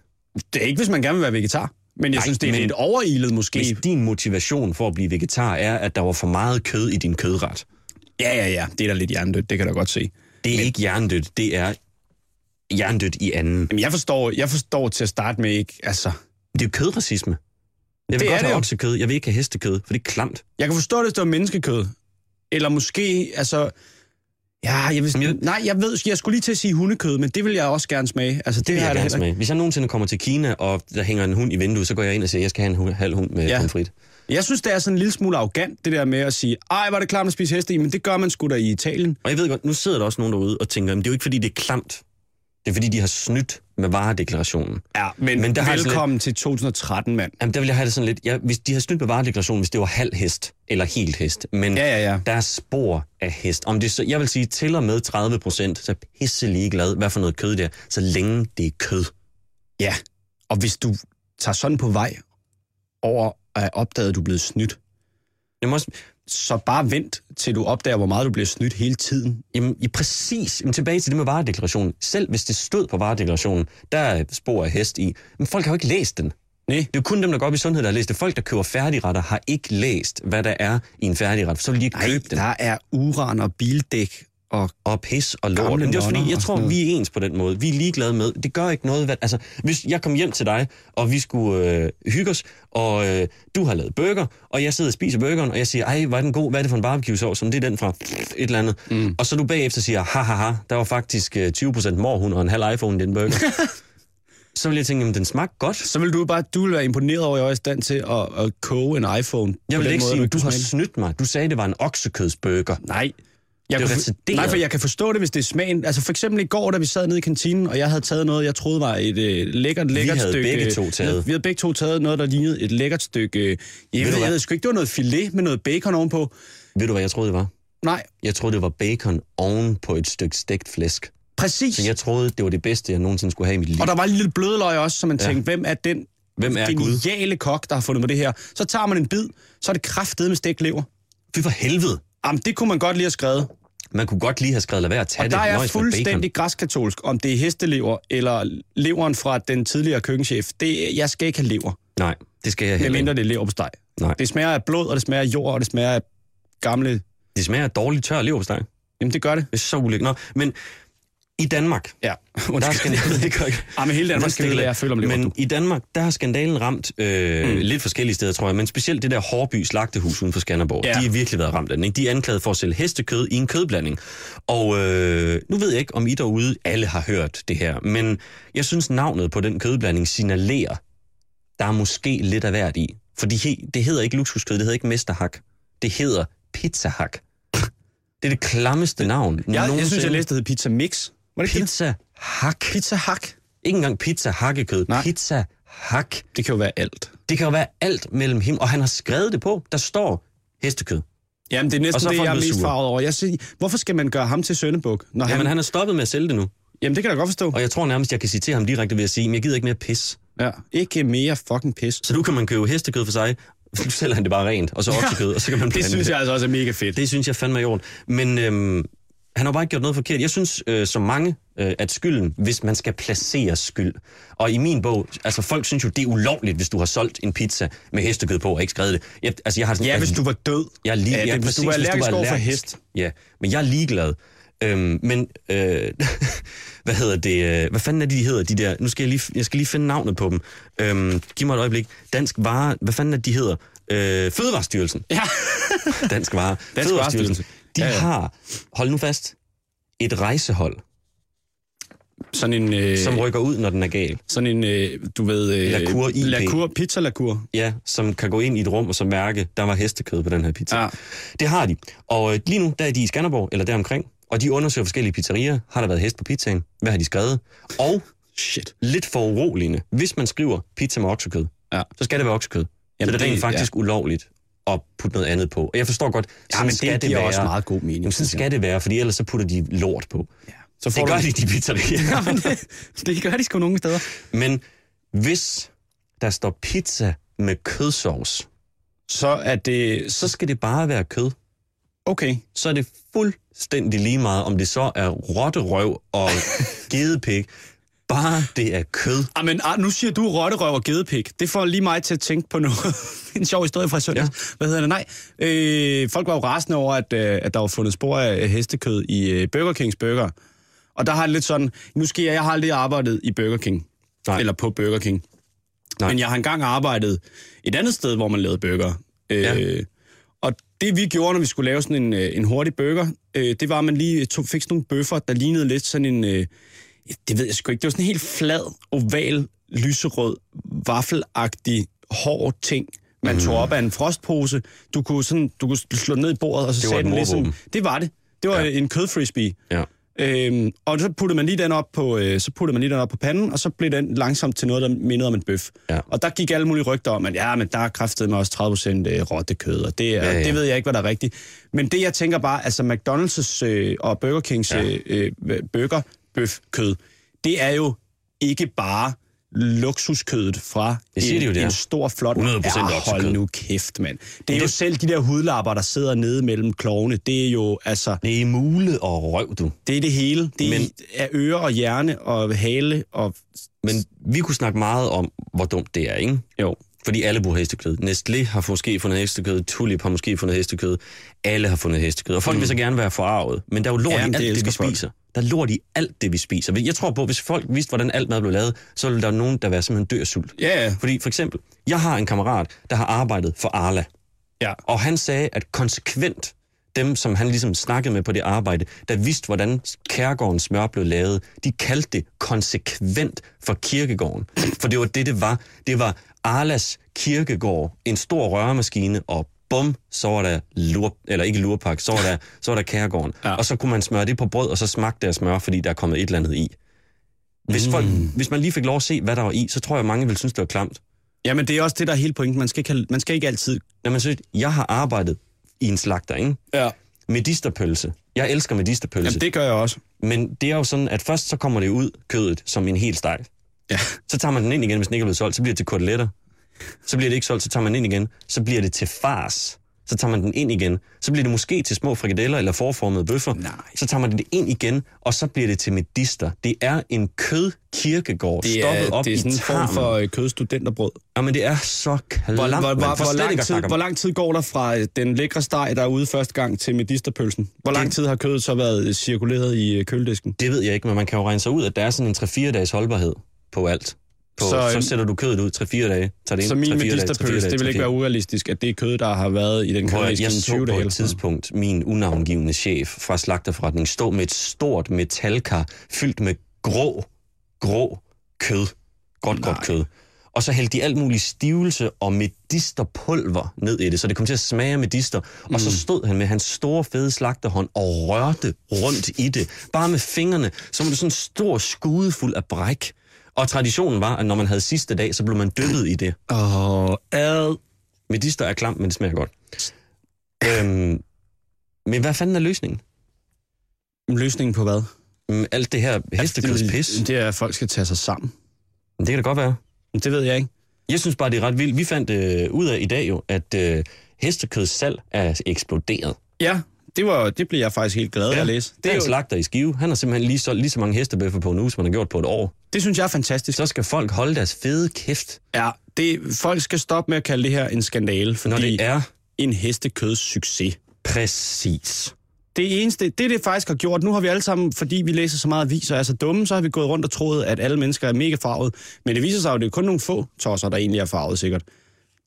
S3: det er ikke, hvis man gerne vil være vegetar. Men jeg
S4: Nej,
S3: synes, det er
S4: men-
S3: lidt overilet måske.
S4: Hvis din motivation for at blive vegetar er, at der var for meget kød i din kødret,
S3: Ja, ja, ja. Det er da lidt hjernedødt, det kan jeg da godt se.
S4: det er men... ikke hjernedødt, det er hjernedødt i anden.
S3: Jamen, jeg forstår, jeg forstår til at starte med ikke, altså...
S4: Det er jo kødracisme. Jeg vil
S3: Det
S4: godt
S3: er det
S4: have
S3: jo.
S4: oksekød, jeg vil ikke have hestekød, for det er klamt.
S3: Jeg kan forstå, hvis det var menneskekød. Eller måske, altså... Ja, jeg vil,
S4: jeg-
S3: nej, jeg ved, jeg skulle lige til at sige hundekød, men det vil jeg også gerne smage. Altså, det,
S4: Det vil
S3: har
S4: jeg
S3: da
S4: gerne
S3: heller ikke-
S4: smage. Hvis jeg nogensinde kommer til Kina, og der hænger en hund i vinduet, så går jeg ind og siger, at jeg skal have en hu- halv hund med
S3: Ja.
S4: ja. pomfrit.
S3: Jeg synes, det er sådan en lille smule arrogant, det der med at sige, ej, var det klamt at spise heste i, men det gør man sgu da i Italien.
S4: Og jeg ved godt, nu sidder der også nogen derude og tænker, at det er jo ikke, fordi det er klamt. Det er, fordi de har snydt med varedeklarationen.
S3: Ja, men, men
S4: Men der har jeg sådan
S3: velkommen til 2013, mand.
S4: Jamen, der vil jeg have det sådan lidt... Ja, hvis de har snydt med varedeklarationen, hvis det var halv hest eller helt hest. Men
S3: Ja, ja, ja.
S4: der er spor af hest. Om det så, jeg vil sige, til og med 30 procent, så er jeg pisse ligeglad, hvad for noget kød det er, så længe det er kød.
S3: Ja, og hvis du tager sådan på vej over at opdage, at du er blevet snydt,
S4: Jeg må også,
S3: så bare vent, til du opdager, hvor meget du bliver snydt hele tiden.
S4: jamen, ja, præcis. Jamen, tilbage til det med varedeklarationen. Selv hvis det stod på varedeklarationen, der er spor af hest i. Men folk har jo ikke læst den.
S3: Nej.
S4: Det er jo kun dem, der går op i sundhed, der har læst det. Folk, der køber færdigretter, har ikke læst, hvad der er i en færdigret. for Så vil de ikke
S3: Nej,
S4: købe den.
S3: der er uran og bildæk og
S4: og pis og lort.
S3: Gamle
S4: Men det er også fordi,
S3: nonner
S4: jeg
S3: og
S4: tror,
S3: sådan noget.
S4: vi er ens på den måde. Vi er ligeglade med, det gør ikke noget. Hvad, altså, hvis jeg kom hjem til dig, og vi skulle øh, hygge os, og øh, du har lavet burger, og jeg sidder og spiser burgeren, og jeg siger, ej, hvor er den god, hvad er det for en barbecue sauce? Som det er den fra et eller andet. Mm. Og så du bagefter siger, ha, ha, ha, der var faktisk øh, 20% morhund og en halv iPhone i den burger. så vil jeg tænke, jamen den smagte godt.
S3: så vil du bare du vil være imponeret over, at jeg var i stand til at, at koge en iPhone.
S4: Jeg
S3: på
S4: vil
S3: den
S4: ikke
S3: måde,
S4: sige,
S3: ikke
S4: du har
S3: kunne smage
S4: snydt mig. Du sagde, det var en oksekødsburger.
S3: den. Nej. Jeg
S4: Det er
S3: kunne-
S4: retarderet.
S3: Nej, for jeg kan forstå det, hvis det er smagen. Altså for eksempel i går, da vi sad nede i kantinen, og jeg havde taget noget, jeg troede var et øh, lækkert, lækkert
S4: havde
S3: stykke... øh,
S4: begge to taget.
S3: Vi havde begge to taget noget, der lignede et lækkert stykke... øh, Jeg ved,
S4: hvad?
S3: jeg ved sgu ikke, det var noget filet med noget bacon ovenpå.
S4: Ved du, hvad jeg troede, det var?
S3: Nej,
S4: Jeg troede, det var bacon oven på et stykke stegt flæsk.
S3: præcis.
S4: Så jeg troede, det var det bedste, jeg nogensinde skulle have i mit liv.
S3: Og der var en lille blødløg også, så man tænkte, hvem er den
S4: Hvem er Gud?
S3: geniale kok, der har fundet på det her? Så tager man en bid, så er det kraftede med stegt lever.
S4: Fy for helvede.
S3: Jamen, det kunne man godt lige have skrevet.
S4: Man kunne godt lige have skrevet, lad være at tage
S3: Og
S4: det.
S3: der er
S4: nøjes med
S3: fuldstændig græskatolsk, om det er hestelever eller leveren fra den tidligere køkkenchef. Det, jeg skal ikke have lever,
S4: bacon. Nej, det skal jeg heller
S3: medmindre
S4: ikke.
S3: det er lever på steg.
S4: Nej.
S3: Det smager af blod, og det smager af jord, og det smager af gamle...
S4: Det smager af dårlig tør leverpostej.
S3: Jamen, det gør det.
S4: Det er så ulækkert. Nå, men i Danmark,
S3: Ja,
S4: der er
S3: undskyld.
S4: skandalen... det gør ikke.
S3: Ej, men hele
S4: Der er
S3: Danmark skal
S4: skandalen-
S3: vide, jeg føler om lever.
S4: Men
S3: du.
S4: i Danmark, der har skandalen ramt øh, mm. lidt forskellige steder, tror jeg. Men specielt det der Hårby slagtehus uden for Skanderborg.
S3: Ja.
S4: Ja. De har virkelig været ramt af den. Ikke? De er anklaget for at sælge hestekød i en kødblanding. Og øh, nu ved jeg ikke, om I derude alle har hørt det her. Men jeg synes, navnet på den kødblanding signalerer, der er måske lidt af værd i. For de he, det hedder ikke luksuskød, det hedder ikke mesterhak. Det hedder pizzahak. Det er det klammeste navn
S3: Jeg, jeg synes,
S4: nogensinde.
S3: jeg læste, det hed Pizza Mix. Var det ikke det?
S4: Pizza hak.
S3: Pizza Hak.
S4: Ikke engang pizza hakkekød.
S3: Nej.
S4: Pizza hak.
S3: Det kan jo være alt.
S4: Det kan jo være alt mellem himmel. Og han har skrevet det på. Der står hestekød.
S3: Jamen, det er
S4: Og så
S3: næsten
S4: er
S3: det,
S4: folk
S3: jeg er
S4: blevet
S3: mest
S4: sure.
S3: farvet over. Jeg siger, hvorfor skal man gøre ham til Sønnebuk? Når
S4: Jamen,
S3: han,
S4: han har stoppet med at sælge det nu.
S3: jamen, det kan jeg da godt forstå.
S4: Og jeg tror nærmest, jeg kan citere ham direkte ved at sige, men jeg gider ikke mere pis.
S3: Ja. Ikke mere fucking pis.
S4: Så nu kan man købe hestekød for sig. Nu sælger han det bare rent, og så oksekød, og så kan man blande
S3: Det synes jeg altså også er mega fedt.
S4: Det synes jeg fandme er i orden. Men øhm, han har bare ikke gjort noget forkert. Jeg synes, øh, som mange, øh, at skylden, hvis man skal placere skyld. Og i min bog, altså folk synes jo, det er ulovligt, hvis du har solgt en pizza med hestekød på og ikke skrevet det. Jeg, altså, jeg har sådan,
S3: Ja,
S4: jeg-
S3: hvis du var død.
S4: Jeg er lige,
S3: Ja,
S4: ja,
S3: det-
S4: ja,
S3: hvis
S4: præcis,
S3: du er
S4: hvis
S3: allergisk over for hest.
S4: Ja, men jeg er ligeglad. Øhm, men, øh, hvad hedder det, øh, hvad fanden er de, de hedder, de der, nu skal jeg lige, jeg skal lige finde navnet på dem. Øhm, giv mig et øjeblik. Dansk Vare, hvad fanden er de hedder? Øh, Fødevarestyrelsen.
S3: Ja.
S4: Dansk Vare.
S3: Dansk Varestyrelse.
S4: De
S3: Ja,
S4: ja,
S3: ja.
S4: ja. har, hold nu fast, et rejsehold,
S3: Sådan en, øh,
S4: som rykker ud, når den er gal.
S3: sådan en øh, du ved... Øh,
S4: Lacour IP.
S3: Lacour, pizza lacour.
S4: Ja, som kan gå ind i et rum og så mærke, der var hestekød på den her pizza.
S3: Ja.
S4: Det har de. Og øh, lige nu, der er de i Skanderborg, eller deromkring, og de undersøger forskellige pizzerier. Har der været hest på pizzaen? Hvad har de skrevet? Og
S3: Shit.
S4: lidt for uroligende, hvis man skriver pizza med oksekød,
S3: Ja.
S4: så skal det være oksekød.
S3: Jamen,
S4: Jamen, så det er
S3: det-
S4: rent faktisk ja. ulovligt at putte noget andet på. Og jeg forstår godt, sådan
S3: men det
S4: skal det
S3: giver
S4: være.
S3: også meget god mening,
S4: Jamen, sådan
S3: synes jeg.
S4: skal det være, fordi ellers så putter de lort på. Ja.
S3: Så
S4: Det gør
S3: du...
S4: de, de pizzerier.
S3: Jamen, det, det gør de sgu nogle steder.
S4: Men hvis der står pizza med kødsovs,
S3: Så er det...
S4: så
S3: Så,
S4: skal det bare være kød.
S3: okay.
S4: så er det fuldstændig lige meget, om det så er rotterøv og gedepik. Bare det er kød.
S3: Ah, men ah, nu siger du rotterøv og gedepik. Det får lige mig til at tænke på noget. en sjov historie fra søndag. Ja. Hvad hedder det? Nej. Øh, folk var jo rasende over, at, øh, at der var fundet spor af hestekød i øh, Burger Kings burger. Og der har det lidt sådan... Nu skal jeg... Jeg har aldrig arbejdet i Burger King.
S4: Nej.
S3: Eller på Burger King. Nej.
S4: Nej.
S3: Men jeg har engang arbejdet et andet sted, hvor man lavede burger. Øh, ja.
S4: Ja.
S3: Og det vi gjorde, når vi skulle lave sådan en, øh, en hurtig burger, øh, det var, at man lige tog, fik sådan nogle bøffer, der lignede lidt sådan en... Øh, det ved jeg sgu ikke. Det var sådan en helt flad, oval, lyserød, vaffelagtig, hård ting. man
S4: Mhm.
S3: tog op af en frostpose. Du kunne, sådan, du kunne slå den ned i bordet, og så
S4: Det var
S3: sagde
S4: et
S3: den ligesom...
S4: mordvåben.
S3: Det var det. Det var
S4: Ja.
S3: ja. en kødfrisbee.
S4: Ja.
S3: Øhm, og så puttede man lige den op på, øh, så puttede man lige den op på panden, og så blev den langsomt til noget, der mindede om en bøf.
S4: Ja.
S3: Og der gik alle mulige rygter om, at ja, men der er kraftet med også 30 procent øh, rottekød, og det, er,
S4: Ja,
S3: ja,
S4: ja.
S3: ja. det ved jeg ikke, hvad der er rigtigt. Men det, jeg tænker bare, altså McDonald's øh, og Burger Kings ja. øh, burger bøf kød, det er jo ikke bare luksuskødet fra
S4: Det siger
S3: en,
S4: de jo, det er.
S3: en stor, flot...
S4: 100%
S3: Ja,
S4: oksekød.
S3: hold nu kæft, mand. Det er
S4: Men
S3: jo
S4: det-
S3: selv de der hudlapper, der sidder nede mellem klovene, det er jo altså...
S4: Det er mule og røv, du.
S3: Det er det hele.
S4: Men-
S3: Det Men... er øre og hjerne og hale og...
S4: Men vi kunne snakke meget om, hvor dumt det er, ikke?
S3: Jo.
S4: Fordi alle bruger hestekød. Nestlé har måske fundet hestekød, Tulip har måske fundet hestekød, alle har fundet hestekød. Og folk mm. vil så gerne være forarvet, men der er jo lort
S3: Ja,
S4: ja, i
S3: men
S4: alt det,
S3: det
S4: det vi
S3: elsker folk.
S4: spiser. Der er lort i alt det, vi spiser. Jeg tror på, at hvis folk vidste, hvordan alt mad blev lavet, så ville der nogen, der være simpelthen dør af sult.
S3: Ja, ja.
S4: Fordi for eksempel, jeg har en kammerat, der har arbejdet for Arla.
S3: Ja.
S4: Og han sagde, at konsekvent dem, som han ligesom snakkede med på det arbejde, der vidste, hvordan Kærgårdens smør blev lavet, de kaldte det konsekvent for kirkegården. For det var det, det var. Det var Arlas kirkegård, en stor rørmaskine, og bum, så var der lur, eller ikke lurpak, så var der, så var der Kærgården. Ja.
S3: Ja.
S4: Og så kunne man smøre det på brød, og så smagte det af smør, fordi der er kommet et eller andet i. Hvis, folk, mm. hvis man lige fik lov at se, hvad der var i, så tror jeg, mange ville synes, det var klamt.
S3: Jamen, det er også det, der er hele pointen. Man skal ikke, have- man skal ikke altid...
S4: Når man synes, jeg har arbejdet i en slagter, ikke?
S3: Ja.
S4: Medisterpølse. Jeg elsker medisterpølse.
S3: Jamen, det gør jeg også.
S4: Men det er jo sådan, at først så kommer det ud, kødet, som en hel steg.
S3: Ja.
S4: Så tager man den ind igen, hvis den ikke er blevet solgt. Så bliver det til koteletter. Så bliver det ikke solgt, så tager man den ind igen. Så bliver det til fars. Så tager man den ind igen. Så bliver det måske til små frikadeller eller forformede bøffer.
S3: Nej.
S4: Så tager man den ind igen, og så bliver det til medister. Det er en kødkirkegård, stoppet op
S3: det er sådan
S4: i
S3: en form
S4: tarmen.
S3: for øh, kødstudenterbrød.
S4: Jamen, det er så klamt,
S3: Hvor, hvor,
S4: mand. For
S3: hvor,
S4: slet
S3: hvor,
S4: ikke
S3: lang
S4: at
S3: tid,
S4: snakke om.
S3: hvor lang tid går der fra øh, den lækre steg, der er ude første gang, til medisterpølsen? Hvor lang tid har kødet så været øh, cirkuleret i øh, køledisken?
S4: Det ved jeg ikke, men man kan jo regne sig ud, at der er sådan en 3-4 dages holdbarhed på alt. På, så,
S3: Så,
S4: så
S3: øhm,
S4: sætter du kødet ud 3-4 dage. Tager det ind,
S3: Så min
S4: 3-4 dage, 3-4 dage,
S3: medisterpølse, det vil
S4: 3-4
S3: ikke være urealistisk, at det er kød, der har været i den
S4: Prøv at,
S3: køledisken
S4: jeg
S3: i
S4: så
S3: 20
S4: på
S3: dage.
S4: et
S3: eller sådan noget.
S4: tidspunkt min unavngivende chef fra slagterforretningen stå med et stort metalkar fyldt med grå, grå kød. Godt, godt kød. Og så hældte de alt muligt stivelse og medisterpulver ned i det, så det kom til at smage af medister. Og så stod han med hans store, fede slagterhånd og rørte rundt i det. Bare med fingrene, så var det sådan en stor skude fuld af bræk. Og traditionen var, at når man havde sidste dag, så blev man dyppet i det.
S3: Åh, ad.
S4: Medister er klam, men det smager godt. Øhm, men hvad fanden er løsningen?
S3: Løsningen på hvad?
S4: Mm, Alt det her hestekødspis,
S3: Det er, at folk skal tage sig sammen.
S4: det kan da godt være.
S3: Men Det ved jeg ikke.
S4: Jeg synes bare, det er ret vildt. Vi fandt øh, ud af i dag jo, at øh, hestekødssalg er eksploderet.
S3: Ja, det, var, det blev jeg faktisk helt glad af at læse.
S4: Det er en
S3: jo,
S4: slagter i Skive. Han har simpelthen lige solgt lige så mange hestebøffer på en uge, som han har gjort på et år.
S3: det synes jeg er fantastisk.
S4: Så skal folk holde deres fede kæft,
S3: Ja, det, folk skal stoppe med at kalde det her en skandale, fordi
S4: når det er
S3: en hestekøds succes.
S4: præcis.
S3: Det eneste, det det faktisk har gjort, nu har vi alle sammen, fordi vi læser så meget aviser, er så dumme, så har vi gået rundt og troet, at alle mennesker er mega farvet. Men det viser sig jo, at det er kun nogle få tosser, der egentlig er farvet sikkert.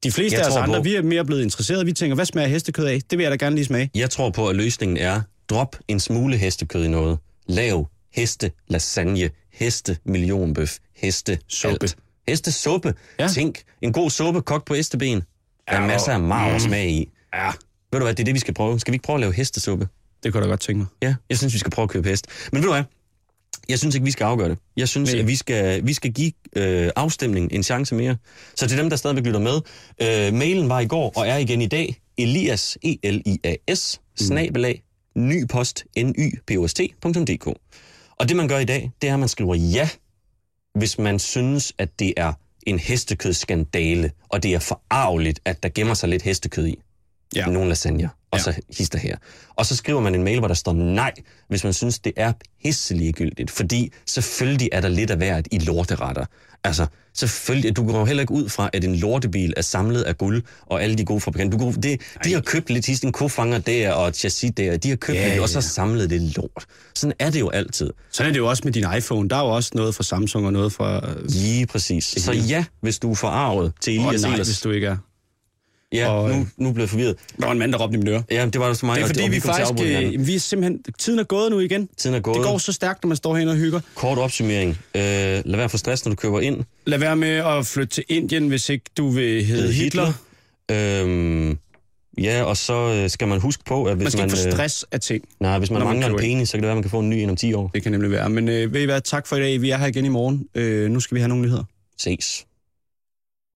S3: De fleste
S4: Jeg
S3: af os
S4: tror på-
S3: andre, vi er mere blevet interesserede. Vi tænker, hvad smager hestekød af? Det vil jeg da gerne lige smage.
S4: Jeg tror på, at løsningen er, drop en smule hestekød i noget. Lav heste lasagne, heste millionbøf, heste
S3: Suppe.
S4: Alt. Heste suppe. Ja.
S3: Ja.
S4: Tænk, en god suppe kogt på hesteben. Der er masser af marv og smag i.
S3: Mm. Ja,
S4: Ved du hvad, det er det, vi skal prøve. Skal vi ikke prøve at lave hestesuppe?
S3: det kunne jeg da godt tænke mig.
S4: Ja, jeg synes, vi skal prøve at købe hest. Men ved du hvad, jeg synes ikke, vi skal afgøre det. Jeg synes,
S3: Nej.
S4: at vi skal, vi skal give øh, afstemningen en chance mere. Så til dem, der stadigvæk lytter med, øh, mailen var i går og er igen i dag. Elias, E E-L-I-A-S, snabelag, nypost, n y p o s .dk. Og det, man gør i dag, det er, at man skriver ja, hvis man synes, at det er en hestekødsskandale, og det er forarveligt, at der gemmer sig lidt hestekød i
S3: Ja.
S4: nogle lasagner, og
S3: Ja.
S4: så hister her. Og så skriver man en mail, hvor der står nej, hvis man synes, det er pisseligegyldigt, fordi selvfølgelig er der lidt af hvert i lorteretter. Altså, selvfølgelig, du går jo heller ikke ud fra, at en lortebil er samlet af guld, og alle de gode fabrikanter. Du går, det, de har købt lidt hist, en kofanger der, og et chassis der, de har købt
S3: Ja,
S4: yeah, lidt, og så
S3: ja.
S4: samlet det lort. Sådan er det jo altid.
S3: Sådan er det jo også med din iPhone. Der er jo også noget fra Samsung og noget fra...
S4: Lige præcis. Så
S3: hele.
S4: ja, hvis du er forarvet til
S3: Åh,
S4: Elias
S3: nej,
S4: Ehlers.
S3: hvis du ikke er.
S4: Ja,
S3: Og, øh,
S4: nu, nu blev jeg forvirret.
S3: Der var en mand, der råbte i mit øre.
S4: Ja, det var det for mig.
S3: Det er
S4: og
S3: fordi,
S4: og
S3: vi,
S4: kom til at
S3: faktisk...
S4: afbryde hinanden.
S3: Øh, vi er simpelthen... Tiden er gået nu igen.
S4: Tiden er gået.
S3: Det går så stærkt, når man står herinde og hygger.
S4: Kort opsummering. Øh, lad være for stress, når du køber ind.
S3: Lad være med at flytte til Indien, hvis ikke du vil hedde Hitler. Hitler.
S4: Øh, Øhm, ja, og så øh, skal man huske på, at hvis
S3: Man skal
S4: man,
S3: ikke få
S4: øh,
S3: stress af ting.
S4: nej, hvis man
S3: når man
S4: mangler
S3: køber
S4: en
S3: ind.
S4: penis, så kan det være, at man kan få en ny en om 10 år.
S3: Det kan nemlig være. Men øh, ved I hvad, tak for i dag. Vi er her igen i morgen. Øh, nu skal vi have nogle nyheder.
S4: Ses.